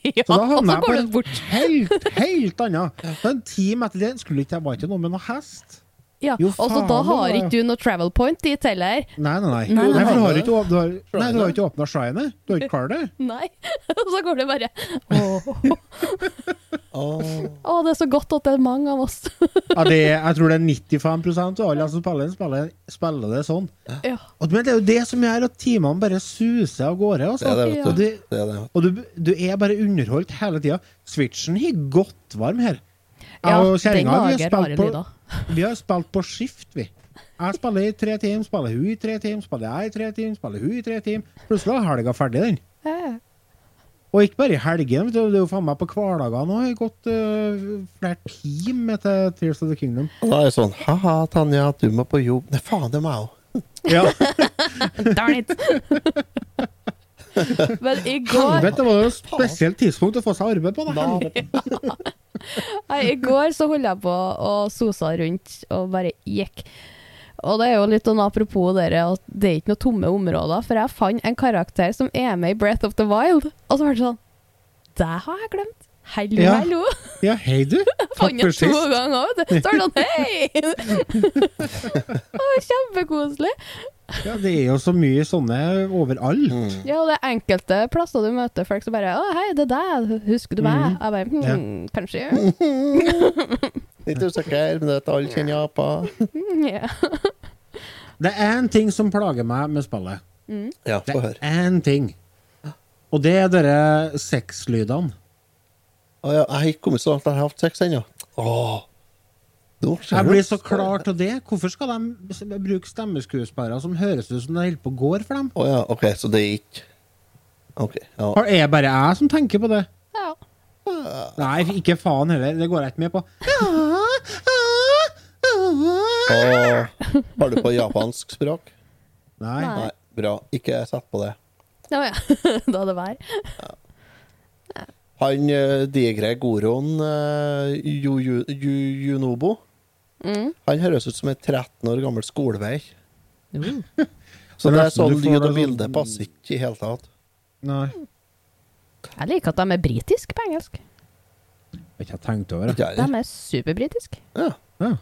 S4: Ja,
S3: Så da
S4: og
S3: havna
S4: så
S3: jeg på
S4: går du
S3: en
S4: bort.
S3: helt, helt annet. Så en time etter det skulle ikke jeg var ikke noe med noe hest.
S4: Ja,
S3: Jo,
S4: og så da
S3: faen,
S4: har
S3: det var-
S4: ikke du noe travel point dit heller.
S3: Nei, nei, nei.
S4: Nei, nei,
S3: nei, for
S1: nei.
S3: du har ikke, åp- du har, nei, du har
S1: Shrinet.
S3: ikke åpna shrinet. Du har ikke klart det.
S4: Nei. Og så går det bare Åh,
S1: Åh.
S4: Åh, det er så godt at det er mange av oss.
S3: Ja, det, jeg tror det er 95 av alle som spiller, den, spiller, spiller det sånn.
S4: Ja.
S3: Og, men det er jo det som gjør at timene bare suser av gårde.
S1: Det
S3: Altså.
S1: er det, vet du.
S3: Og, det,
S1: Det er det.
S3: og du, du er bare underholdt hele tida. Switchen har godt varm her. Jeg
S4: Ja,
S3: og
S4: den
S3: kjerringa, vi har
S4: lager
S3: spilt
S4: rare
S3: på-
S4: lyder.
S3: Vi har spilt på skift, vi. Jeg spiller i tre timer, spiller hun i tre timer, spiller jeg i tre timer, spiller hun i tre timer. Plutselig er helga ferdig, den.
S4: Ja.
S3: Og ikke bare i helgen, vet du, det er jo faen meg på hverdagene òg. Gått øh, flere timer til Tears of the Kingdom.
S1: Og da er det sånn Ha-ha, Tanja, du må på jobb. Nei, faen, det må jeg òg.
S3: Ja,
S4: Darn it! Men i går,
S3: Helvete, det var jo et spesielt tidspunkt å få seg arbeid på. Da.
S4: nei, i går så holdt jeg på og sosa rundt og bare gikk. Og det er jo litt sånn apropos dere at det er ikke noe tomme områder, for jeg fant en karakter som er med i Breath of the Wild, og så var det sånn Det har jeg glemt! Hallo,
S3: Ja.
S4: hallo!
S3: Ja, hei du. Takk
S4: Fant
S3: for
S4: jeg to
S3: sist.
S4: ganger, vet du. Så var det sånn Hei! Å, Kjempekoselig.
S3: Ja, det er jo så mye sånne overalt.
S4: Ja, og det er enkelte plasser du møter folk som bare 'Å, hei, det er deg. Husker du
S3: Mm.
S4: meg?' Jeg bare hm, Kanskje.
S1: Litt usikker, men det er at alle kjenner apa.
S4: Mm, ja.
S3: Det er én ting som plager meg med spillet.
S1: Ja,
S3: Det
S1: få høre.
S3: er én ting. Og det er dere sexlydene.
S1: Å, ja, jeg har ikke kommet så langt at jeg har hatt sex ennå. Åh. Nå ser
S3: Jeg
S1: du.
S3: blir så klar til det. Hvorfor skal de s- bruke stemmeskuespillere som høres ut som det holder på å gå for dem?
S1: Å ja, OK, så det er ikke OK. Ja.
S3: Har- Er det bare jeg som tenker på det?
S4: ja.
S3: Nei, ikke faen heller. Det går jeg ikke med på.
S1: Og, har du på japansk språk?
S3: Nei.
S4: Nei.
S1: Nei, bra. Ikke sett på det.
S4: Ja, ja. da er det vær.
S1: Han eh, digre goroen eh, Yu- Yu- Yu- Yunobo
S4: Mm.
S1: Han høres ut som en 13 år gammel skolevei.
S4: Mm.
S3: Så
S1: Så det er
S3: nesten
S1: sånn
S3: du får
S1: lyd
S3: det
S1: og
S3: sånn-
S1: bilde passer ikke i hele tatt.
S3: Nei.
S4: Jeg liker at de er britiske på engelsk.
S3: Jeg har ikke tenkt over det.
S1: Ikke
S4: De
S1: jeg.
S4: er superbritiske.
S1: Ja,
S3: Ja.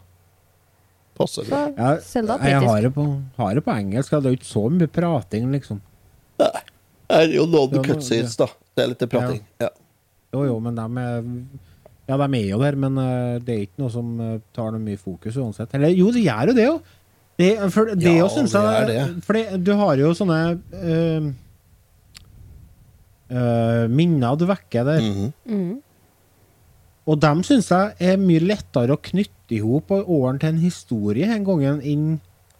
S1: passer
S4: Så
S1: bra.
S4: Selda
S3: Jeg,
S4: er
S3: jeg har,
S4: britisk.
S3: det på, har det på engelsk. Det er jo ikke så mye prating, liksom.
S1: Her er jo
S3: Ja,
S1: noen
S3: nå-
S1: cutscenes, da. Det er litt prating. Ja.
S3: Jo, jo, men de er Ja, de er jo der, men eh, det er ikke noe som eh, tar noe mye fokus uansett. Eller jo, det gjør jo det, jo. Det, for det
S1: Ja,
S3: jo, synes
S1: det
S3: jeg
S1: gjør det.
S3: For det, du har jo sånne eh, eh, minner du vekker der.
S1: Mhm.
S4: Mm.
S3: Og dem syns jeg er mye lettere å knytte i hop og ordne til en historie en gangen inn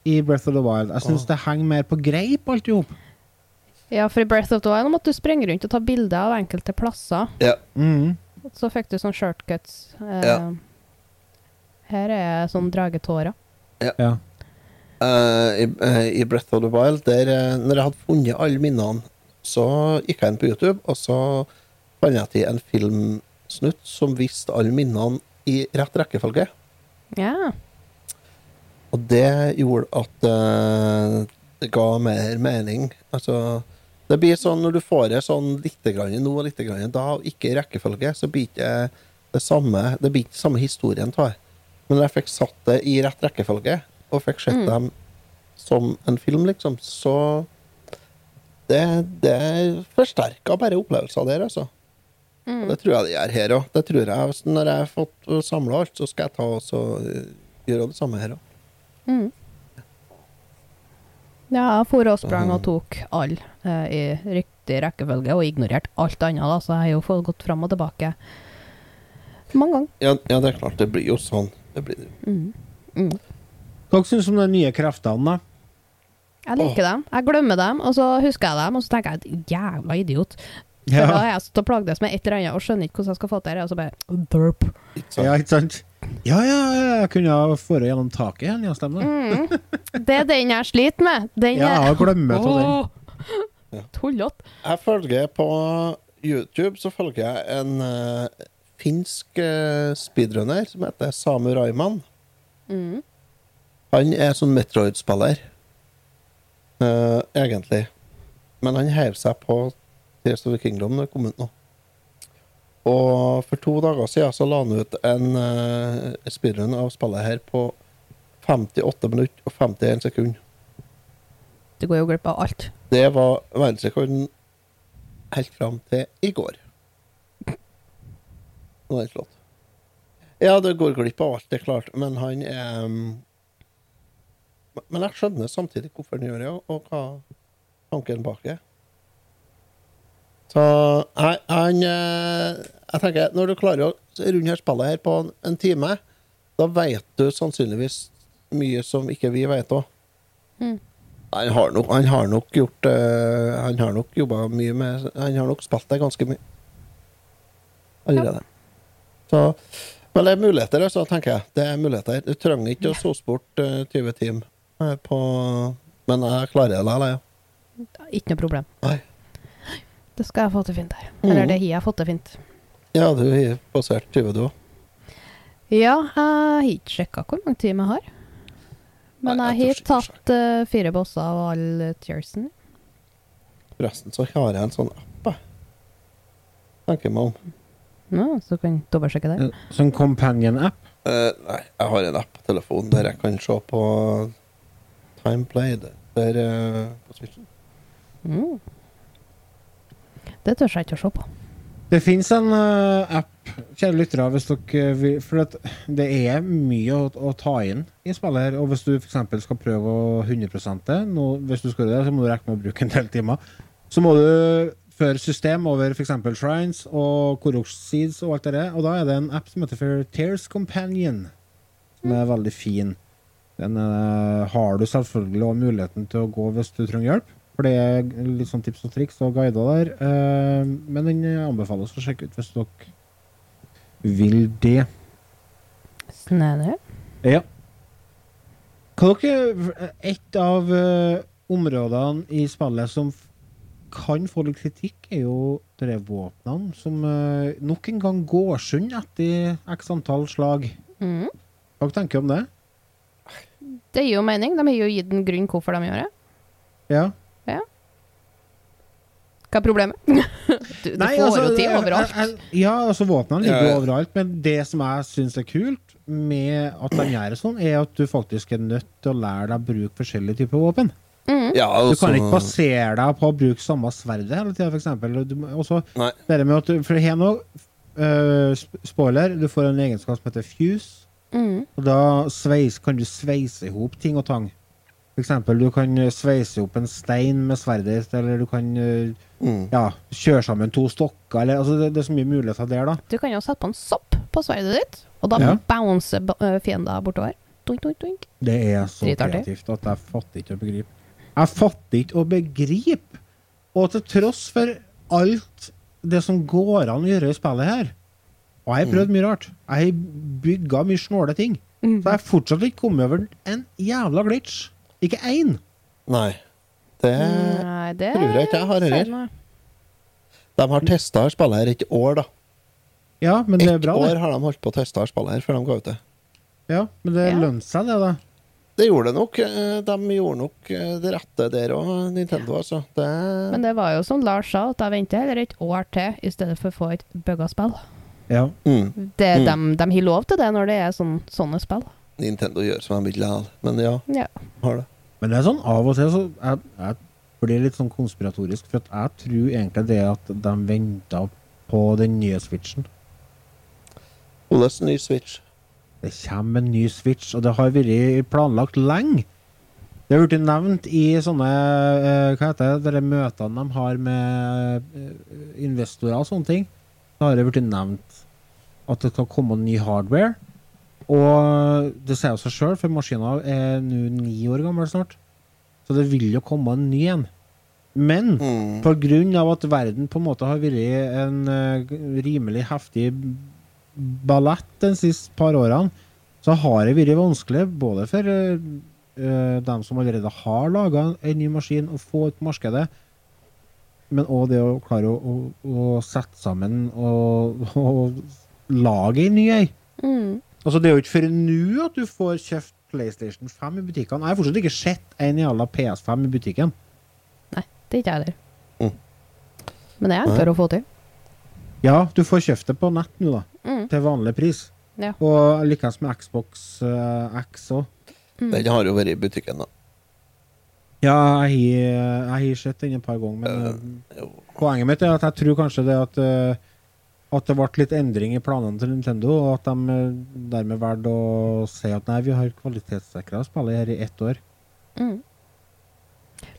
S3: i Breath of the Wild. Jeg syns det henger mer på greip, alt i hop.
S4: Ja, for i Breath of the Wild måtte du sprenge rundt og ta bilder av enkelte plasser.
S1: Ja.
S3: Mm.
S4: Så fikk du sånn shortcuts. Eh,
S1: Ja.
S4: Her er sånn dragetårer.
S3: Ja.
S1: Eh, i, eh, I Breath of the Wild, der eh, når jeg hadde funnet alle minnene, så gikk jeg inn på YouTube, og så fant jeg til en filmsnutt som viste alle minnene i rett rekkefølge.
S4: Ja.
S1: Og det gjorde at eh, det ga mer mening. Altså, det blir sånn når du får det sånn litt grann nå og litt grann da, og ikke i rekkefølge, så blir ikke det samme, det blir ikke samme historien tar. Men når jeg fikk satt det i rett rekkefølge, og fikk sett dem som en film, liksom, så det, det forsterka bare opplevelsen der, altså. Og det tror jeg det gjør her òg. Det tror jeg, hvis- når jeg har fått samla alt, så skal jeg ta og så eh, gjøre det samme her òg.
S4: Mm. Ja, jeg for og sprang og tok alle eh, i rek riktig rekkefølge og ignorert alt annet, da, så jeg har jo fått gått fram og tilbake mange ganger. Mm.
S1: Ja, ja, det er klart. Det blir jo sånn. Det blir det. jo.
S3: Hva syns du om de nye kreftene, da?
S4: Jeg liker dem. Jeg glemmer dem, og så husker jeg dem, og så tenker jeg at jævla idiot. For
S3: Ja.
S4: da har jeg stått og plagdes med et eller annet og skjønner ikke hvordan jeg skal få til det, og så bare derp.
S1: Ikke sant?
S3: Ja, ikke sant? Ja, ja, ja, jeg kunne ha foret gjennom taket igjen, ja, stemmer
S4: Mm,
S3: det.
S4: Det er den jeg sliter med. Den
S3: Ja, jeg glemmer av den.
S4: Åh! Tullete.
S1: Jeg følger på YouTube så følger jeg en eh, finsk eh, speedrunner som heter Samu Raiman.
S4: Mm.
S1: Han er sånn Metroid-spiller, eh, egentlig. Men han heiv seg på Tears of the Kingdom når det kom ut nå. Og for to dager siden så la han ut en eh, speedrun av spillet her på 58 minutter og 51 sekunder.
S4: Du går jo glipp av alt.
S1: Det var verdensrekorden helt fram til i går. Nå er det slått. Ja, det går glipp av alt, det er klart, men han er um, Men jeg skjønner samtidig hvorfor han gjør det, og- og hva tanken bak er. Så nei, han eh, Jeg tenker, når du klarer å runde her spillet her på en, en time, da vet du sannsynligvis mye som ikke vi vet òg. Han har nok, han har nok gjort eh, Han har nok jobba mye med Han har nok spilt det ganske mye. Allerede. Så, men det er muligheter, altså, tenker jeg. Det er muligheter. Du trenger ikke å sose bort eh, 20 timer eh, på Men jeg klarer det likevel, jeg.
S4: Ikke noe problem. Mm.
S1: Nei.
S4: Det skal jeg få til fint her. Eller det har jeg fått til fint.
S1: Ja, du har passert 20, du òg.
S4: Ja, jeg har ikke sjekka hvor mange timer jeg har. Men
S1: Nei, jeg
S4: jeg
S1: tør
S4: har
S1: ikke
S4: tatt eh, fire bosser og alle tearsen.
S1: Forresten så har jeg en sånn app, jeg. Tenker jeg meg om.
S4: Ja, så kan du dobbeltsjekke det.
S3: En Sånn companion-app.
S1: Eh, nei, jeg har en app på telefonen der jeg kan se på eh, Time Played. Der eh, på Switchen.
S4: Mm. Det tør jeg ikke å se på.
S3: Det fins en eh, app, kjære lyttere, hvis dere vil For at det er mye å, å ta inn i spillet her. Og hvis du f.eks. skal prøve å 100 det, nå- hvis du skal gjøre det, så må du rekke med å bruke en del timer. Så må du føre system over f.eks. shrines og Koroks seeds og alt det der. Og da er det en app som heter for Tears Companion, som er veldig fin. Den eh, har du selvfølgelig også muligheten til å gå hvis du trenger hjelp. For det er litt sånn tips og triks og guider der. eh, men den eh, anbefales å sjekke ut hvis dere vil det.
S4: Snedig.
S3: Ja. Hva dere Et av eh, områdene i spillet som f- kan få litt kritikk, er jo de der våpnene som eh, nok en gang går sund etter x antall slag.
S4: Mm.
S3: Hva dere tenker om det?
S4: Det gir jo mening. De har jo gitt en grunn hvorfor de gjør det.
S3: Ja.
S4: Hva er problemet? Du, du får jo
S3: altså, det
S4: til
S3: er-
S4: overalt.
S3: er- Ja, altså våpnene ligger
S1: Ja,
S3: jo
S1: ja.
S3: overalt, men det som jeg syns er kult med at de gjør det sånn, er at du faktisk er nødt til å lære deg å bruke forskjellige typer våpen.
S4: Mm,
S1: Ja,
S3: Du kan
S1: altså-
S3: ikke basere deg på å bruke samme sverdet hele tida, f.eks.
S1: Nei.
S3: med at du For her nå, øh, sp- spoiler, du får en egenskap som heter fuse,
S4: Mm.
S3: og da sveis, kan du sveise i hop ting og tang. For eksempel, du kan øh, sveise opp en stein med sverdet ditt, eller du kan øh,
S1: Mm.
S3: ja, kjøre sammen to stokker, eller altså, det, det er så mye muligheter der, da.
S4: Du kan jo sette på en sopp på sverdet ditt, og da
S3: Ja.
S4: bouncer ba- øh, fiender bortover. Doink, doink, doink.
S3: Det er så
S4: Dritartig.
S3: kreativt at jeg fatter ikke å begripe. Jeg fatter ikke å begripe! Og til tross for alt det som går an å gjøre i spillet her Og jeg har
S1: Mm.
S3: prøvd mye rart. Jeg har bygga mye snåle ting. Så jeg har fortsatt ikke kommet over en jævla glitch. Ikke én.
S1: Nei. Det,
S4: Nei, det
S1: tror Eh, jeg ikke jeg har
S4: sier
S1: heller.
S4: meg.
S1: de har testa spillet her et år, da.
S3: Ja, men det er
S1: Ett
S3: bra,
S1: år
S3: det.
S1: har de holdt på å teste spillet her før de ga ut det.
S3: Ja, men det
S4: Ja.
S3: lønner seg, det, da.
S1: Det gjorde det nok. eh, De gjorde nok eh, det rette der òg, Nintendo, altså. Det,
S4: Men det var jo som Lars sa, at jeg venter heller et år til i stedet for å få et bugga spill.
S3: Ja.
S1: mm,
S4: Det, dem- dem har lov til det når det er sånn, sånne spill.
S1: Nintendo gjør som de vil likevel. Men ja,
S4: Ja.
S1: har det.
S3: Men det er sånn av og til så jeg, jeg blir litt sånn konspiratorisk, for at jeg tror egentlig det at de venta på den nye switchen.
S1: Hvordan ny Switch?
S3: Det kommer en ny switch, og det har vært planlagt lenge. Det har blitt nevnt i sånne eh, Hva heter det, de møtene de har med eh, investorer og sånne ting. Da har det blitt nevnt at det skal komme ny hardware. Og det sier jo seg sjøl, for maskina er nå ni år gammel snart. Så det vil jo komme en ny en. Men
S1: Mm.
S3: på grunn av at verden på en måte har vært en eh, rimelig heftig ballett de siste par årene, så har det vært vanskelig både for eh, eh, dem som allerede har laga en ny maskin, å få ut på markedet, men òg det å klare å, å, å sette sammen og, og lage en ny ei.
S4: Mm.
S3: Altså, det er jo ikke før nå at du får kjøpt PlayStation 5 i butikkene. Jeg har fortsatt ikke sett en jævla PS5 i butikken.
S4: Det er ikke jeg heller.
S1: Mm.
S4: Men det er enklere å få til.
S3: Ja, du får kjøpt det på nett nå, da.
S4: Mm.
S3: Til vanlig pris.
S4: Ja.
S3: Og likeens med Xbox eh, X òg.
S4: Mm.
S1: Den har jo vært i butikken, da.
S3: Ja, jeg har- jeg har sett den et par ganger, men eh,
S1: jo.
S3: poenget mitt er at jeg tror kanskje det at eh, at det ble litt endring i planene til Nintendo, og at de eh, dermed valgte å si at nei, vi har kvalitetssikra spillet her i ett år.
S4: mm.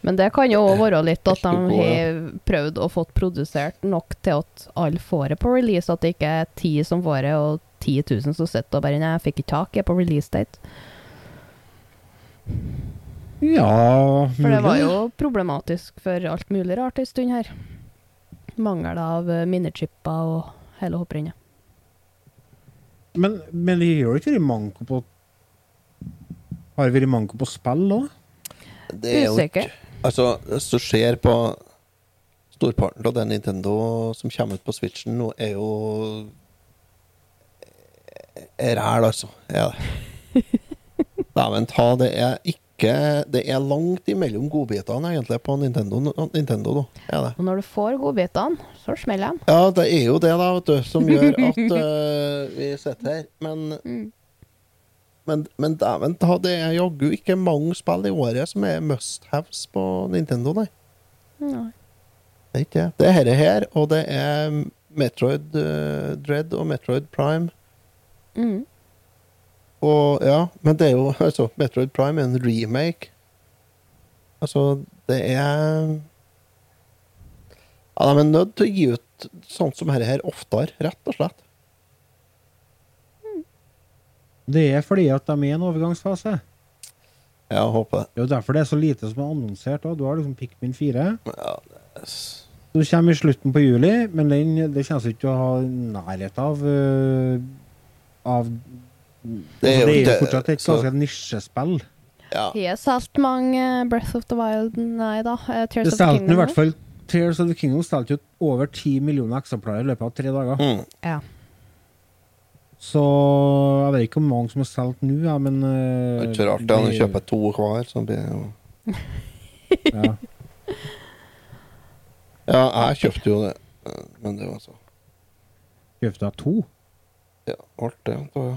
S4: Men det kan jo òg være litt at
S1: Helt ok,
S4: de
S1: ja.
S4: har prøvd å få produsert nok til at alle får det på release, at det ikke er ti som får det, og 10 000 som sitter og bare Nei, jeg fikk ikke tak i det på release date.
S3: Ja
S4: For det
S3: mulig.
S4: var jo problematisk for alt mulig rart en stund her. Mangel av eh, minnechipper og hele hopprennet.
S3: Men, men det har jo ikke vært manko på Har det vært manko på spill òg?
S1: Det er jo
S4: Usikker.
S1: Altså, hvis du ser på Storparten av det Nintendo som kommer ut på Switchen nå, er jo er ræl, altså. Er det. Dæven ta, det er ikke Det er langt imellom godbitene, egentlig, på Nintendo, nå- Nintendo nå. Er det.
S4: Og når du får godbitene, så smeller de.
S1: Ja, det er jo det, da, vet du, som gjør at eh, vi sitter her. Men
S4: Mm.
S1: Men, men dæven ta, det er jaggu ikke mange spill i året som er must-haves på Nintendo, nei.
S4: Nei.
S1: Det er ikke det. Det er herre her, og det er Metroid eh, Dread og Metroid Prime.
S4: Mm.
S1: Og ja, men det er jo altså, Metroid Prime er en remake. Altså, det er Ja, De er nødt til å gi ut sånt som herre her oftere, rett og slett.
S3: Det er fordi at de er i en overgangsfase.
S1: Ja, jeg håper det.
S3: Det er jo derfor det er så lite som er annonsert. også. Du har liksom Pikmin 4.
S1: Ja,
S3: Du kommer i slutten på juli, men den, det kjennes ikke til å ha nærhet av øh, av
S1: Det er sånn. jo-
S3: altså, det er jo
S1: det-
S3: fortsatt et
S1: så-
S3: ganske nisjespill.
S1: ja.
S4: Har jeg solgt mange eh, Breath of the Wild Nei da. eh, Tears
S3: Det
S4: of the
S3: stelte i
S4: Kingdom?
S3: hvert fall Tears of the Kingdom stelte jo over ti millioner eksemplarer i løpet av tre dager.
S1: Mm.
S4: Ja.
S3: Så jeg vet ikke hvor mange som er solgt nå, ja, men
S1: Det
S3: øh,
S1: er ikke rart det, han
S3: det-
S1: kjøper to hver. Så blir det jo
S3: ja.
S1: Ja, jeg kjøpte jo det, eh, men det var så
S3: Kjøpte jeg to?
S1: Ja, alt det. Da, ja.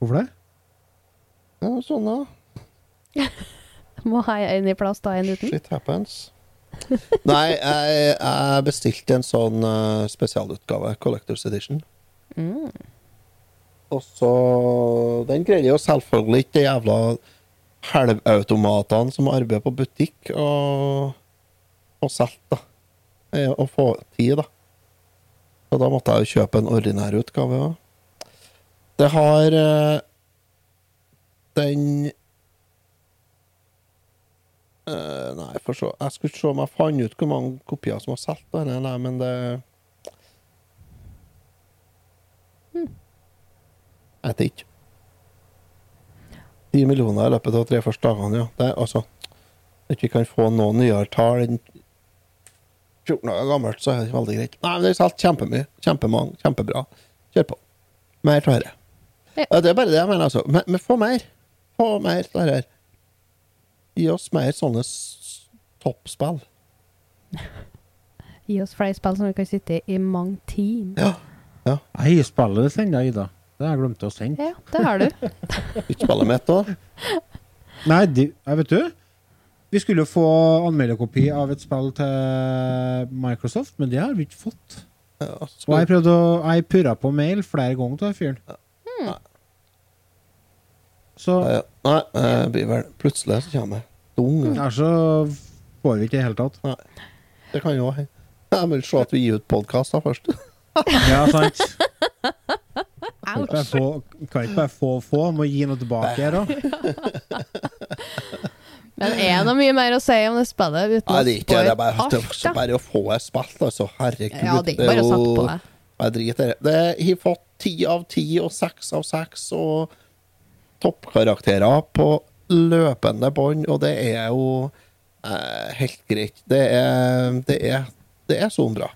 S3: Hvorfor det?
S1: ja, sånn, da.
S4: Må ha en i plass, da en uten.
S1: Shit happens. Nei, jeg, jeg bestilte en sånn eh, spesialutgave, Collectors Edition.
S4: Mm.
S1: Og så Den greide jo selvfølgelig ikke de jævla helvautomatene som arbeider på butikk og, og selger, da. Eh, Og få tid, da. Og da måtte jeg jo kjøpe en ordinær utgave òg. Det har eh, Den Eh, nei, for så Jeg skulle se om jeg fant ut hvor mange kopier som var solgt. da. Nei, nei, men det Jeg vet ikke. Ti millioner i løpet av de tre første dagene, ja. Det er altså At vi kan få noen nyere tall enn 14 dager gammelt, så er det ikke veldig greit. Nei, men det er solgt kjempemye. Kjempemange. Kjempebra. Kjør på. Mer av dette.
S4: Ja.
S1: Ja, Det er bare det jeg mener, altså. Men, men få mer. Få mer av dette. her. Gi oss mer sånne s- toppspill.
S4: Gi oss flere spill som vi kan sitte i i mange timer.
S1: Ja.
S3: Nei, spillet det sender jeg, Ida. Det har jeg glemt å sende.
S4: Ja, det har du.
S1: Utspillet mitt òg.
S3: Nei, de, jeg vet du. Vi skulle jo få anmelderkopi av et spill til Microsoft, men det har vi ikke fått.
S1: Ja,
S3: Og
S1: skal-
S3: jeg prøvde å, jeg purra på mail flere ganger til den fyren. Så
S1: Nei, nei, jeg blir vel Plutselig så kommer jeg. Dung.
S3: her så får vi ikke i det hele tatt.
S1: Det kan jo hende. Jeg vil se at vi gir ut podkast først.
S3: Ja, sant. Kan ikke
S4: Ouch.
S3: bare få, kan ikke bare få, få. Må gi noe tilbake her òg.
S4: Men er det mye mer å si om det spillet? uten
S1: Nei, det er
S4: å
S1: ikke det. Det er
S4: spoil
S1: bare, det er
S4: alt,
S1: også
S4: da?
S1: bare å få det spilt, altså. Herregud.
S4: Ja, det er ikke bare å snakke på det.
S1: Jeg driter i det. Det har fått ti av ti og seks av seks og toppkarakterer på løpende bånd, og det er jo eh, helt greit. Det er, det er, det er sånn bra.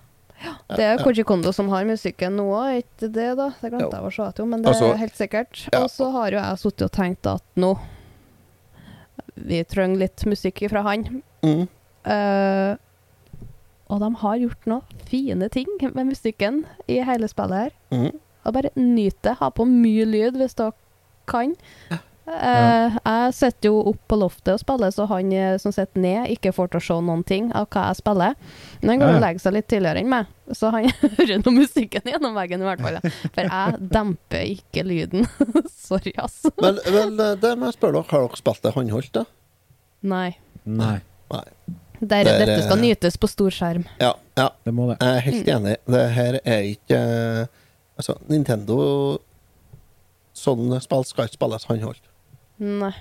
S4: Det er Koji Kondo som har musikken nå òg, er ikke det, da? Det glemte jeg å se etter, men det
S6: Altså-
S4: er helt sikkert.
S1: Ja.
S4: Og så har jo jeg sittet og tenkt at nå Vi trenger litt musikk fra han.
S1: Mm.
S4: Eh, og de har gjort noen fine ting med musikken i hele spillet her.
S1: Mhm.
S4: Og bare nyt det. Ha på mye lyd hvis dere kan. Eh, jeg sitter jo opp på loftet og spiller, så han eh, som sitter ned, ikke får til å se noen ting av hva jeg spiller. Men han går
S3: Ja.
S4: og legger seg litt tidligere enn meg, så han hører noe musikken gjennom veggen i hvert fall. For jeg demper ikke lyden. Sorry, ass.
S1: Men, men eh, det må jeg spørre dere, har dere spilt det håndholdt, da?
S4: Nei.
S3: Nei,
S1: Nei.
S4: Der,
S1: Der,
S4: dette skal
S1: eh,
S4: nytes på stor skjerm.
S1: Ja, ja.
S3: det må det.
S1: Jeg er helt enig. Det her er ikke eh, Altså, Nintendo Sånn spill skal ikke spilles håndholdt.
S4: Nei.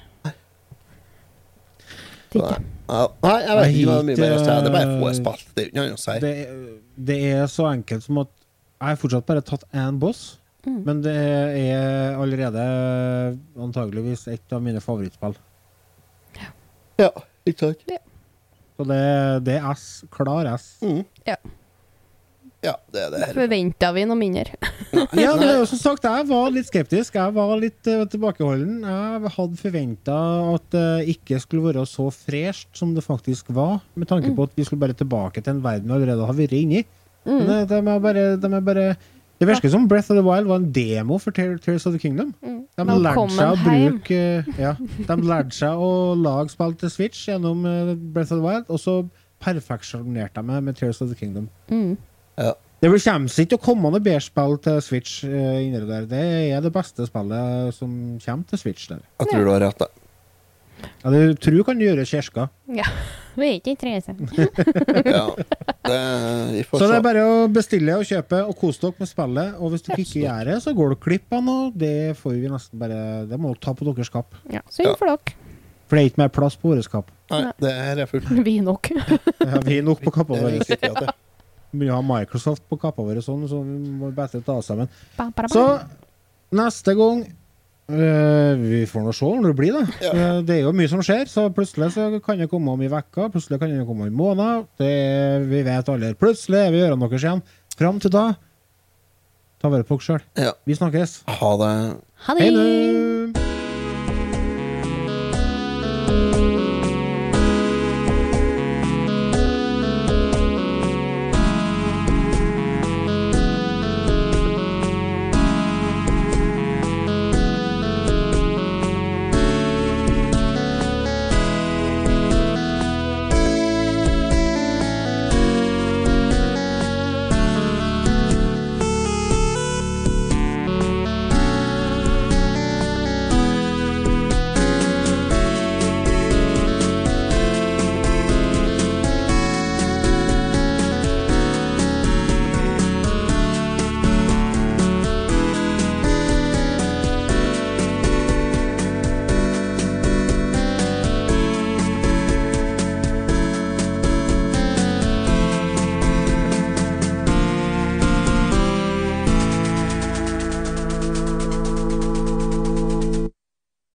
S1: Nei, ja, nei, jeg vet ikke hva det er mye mer å si. Det er bare få
S3: Eh,
S1: spill. Det er jo ikke noe annet å si.
S3: det, det er så enkelt som at jeg har fortsatt bare tatt én boss,
S4: Mm.
S3: men det er allerede antageligvis et av mine favorittspill.
S1: Ja, ikke sant?
S3: Så det, det er S. Klar S.
S1: Mm.
S4: Ja.
S1: Ja, det er det her.
S4: Forventa vi noe mindre?
S3: Ja, men det er jo som sagt, jeg var litt skeptisk. Jeg var litt eh, tilbakeholden. Jeg hadde forventa at det ikke skulle være så fresht som det faktisk var, med tanke på at vi skulle bare tilbake til en verden vi allerede har vært inni. Men det, de er bare, de er bare det virker som Breath of the Wild var en demo for Tear- Tears of the Kingdom. De lærte
S4: Velkommen
S3: seg å
S4: heim.
S3: bruke eh, ja, De lærte seg å lage spill til Switch gjennom eh, Breath of the Wild, og så perfeksjonerte de det med Tears of the Kingdom.
S4: Mm.
S1: Ja.
S3: Det blir- kommer ikke til å komme noe bedre spill til Switch. eh, inni det der. Det er det beste spillet som kommer til Switch. der.
S1: Jeg tror du har rett, da.
S3: Ja, du tror kan gjøre kirka.
S4: Ja. Vi er ikke interessert.
S1: Ja. Det, vi får
S3: Så det er
S1: se.
S3: bare å bestille og kjøpe og kose dere med spillet. Og hvis dere ikke gjør det, så går dere glipp av noe. Det får vi nesten bare Det må dere ta på deres kapp.
S4: Ja. Synd for dere.
S3: For det er ikke mer plass på våre skap.
S1: Nei, det her er fullt.
S4: Vi nok.
S3: Ja, vi er nok på kappa
S1: Det er
S3: vår.
S1: ikke riktig at det.
S3: Vi har Microsoft på kappa vår, og sånn, så vi må bare ta oss sammen.
S4: Ba, ba, ba.
S3: Så neste gang øh, Vi får nå se om det blir, da. Eh, det er jo mye som skjer, så plutselig så kan det komme om i vekka, plutselig kan det komme om i måneder. Det, er- vi vet aldri. Plutselig er vi i ørene deres igjen. Fram til da, ta vare på dere sjøl.
S1: Ja.
S3: Vi snakkes.
S1: Ha det.
S4: Ha
S3: Hei
S4: det!
S3: nå!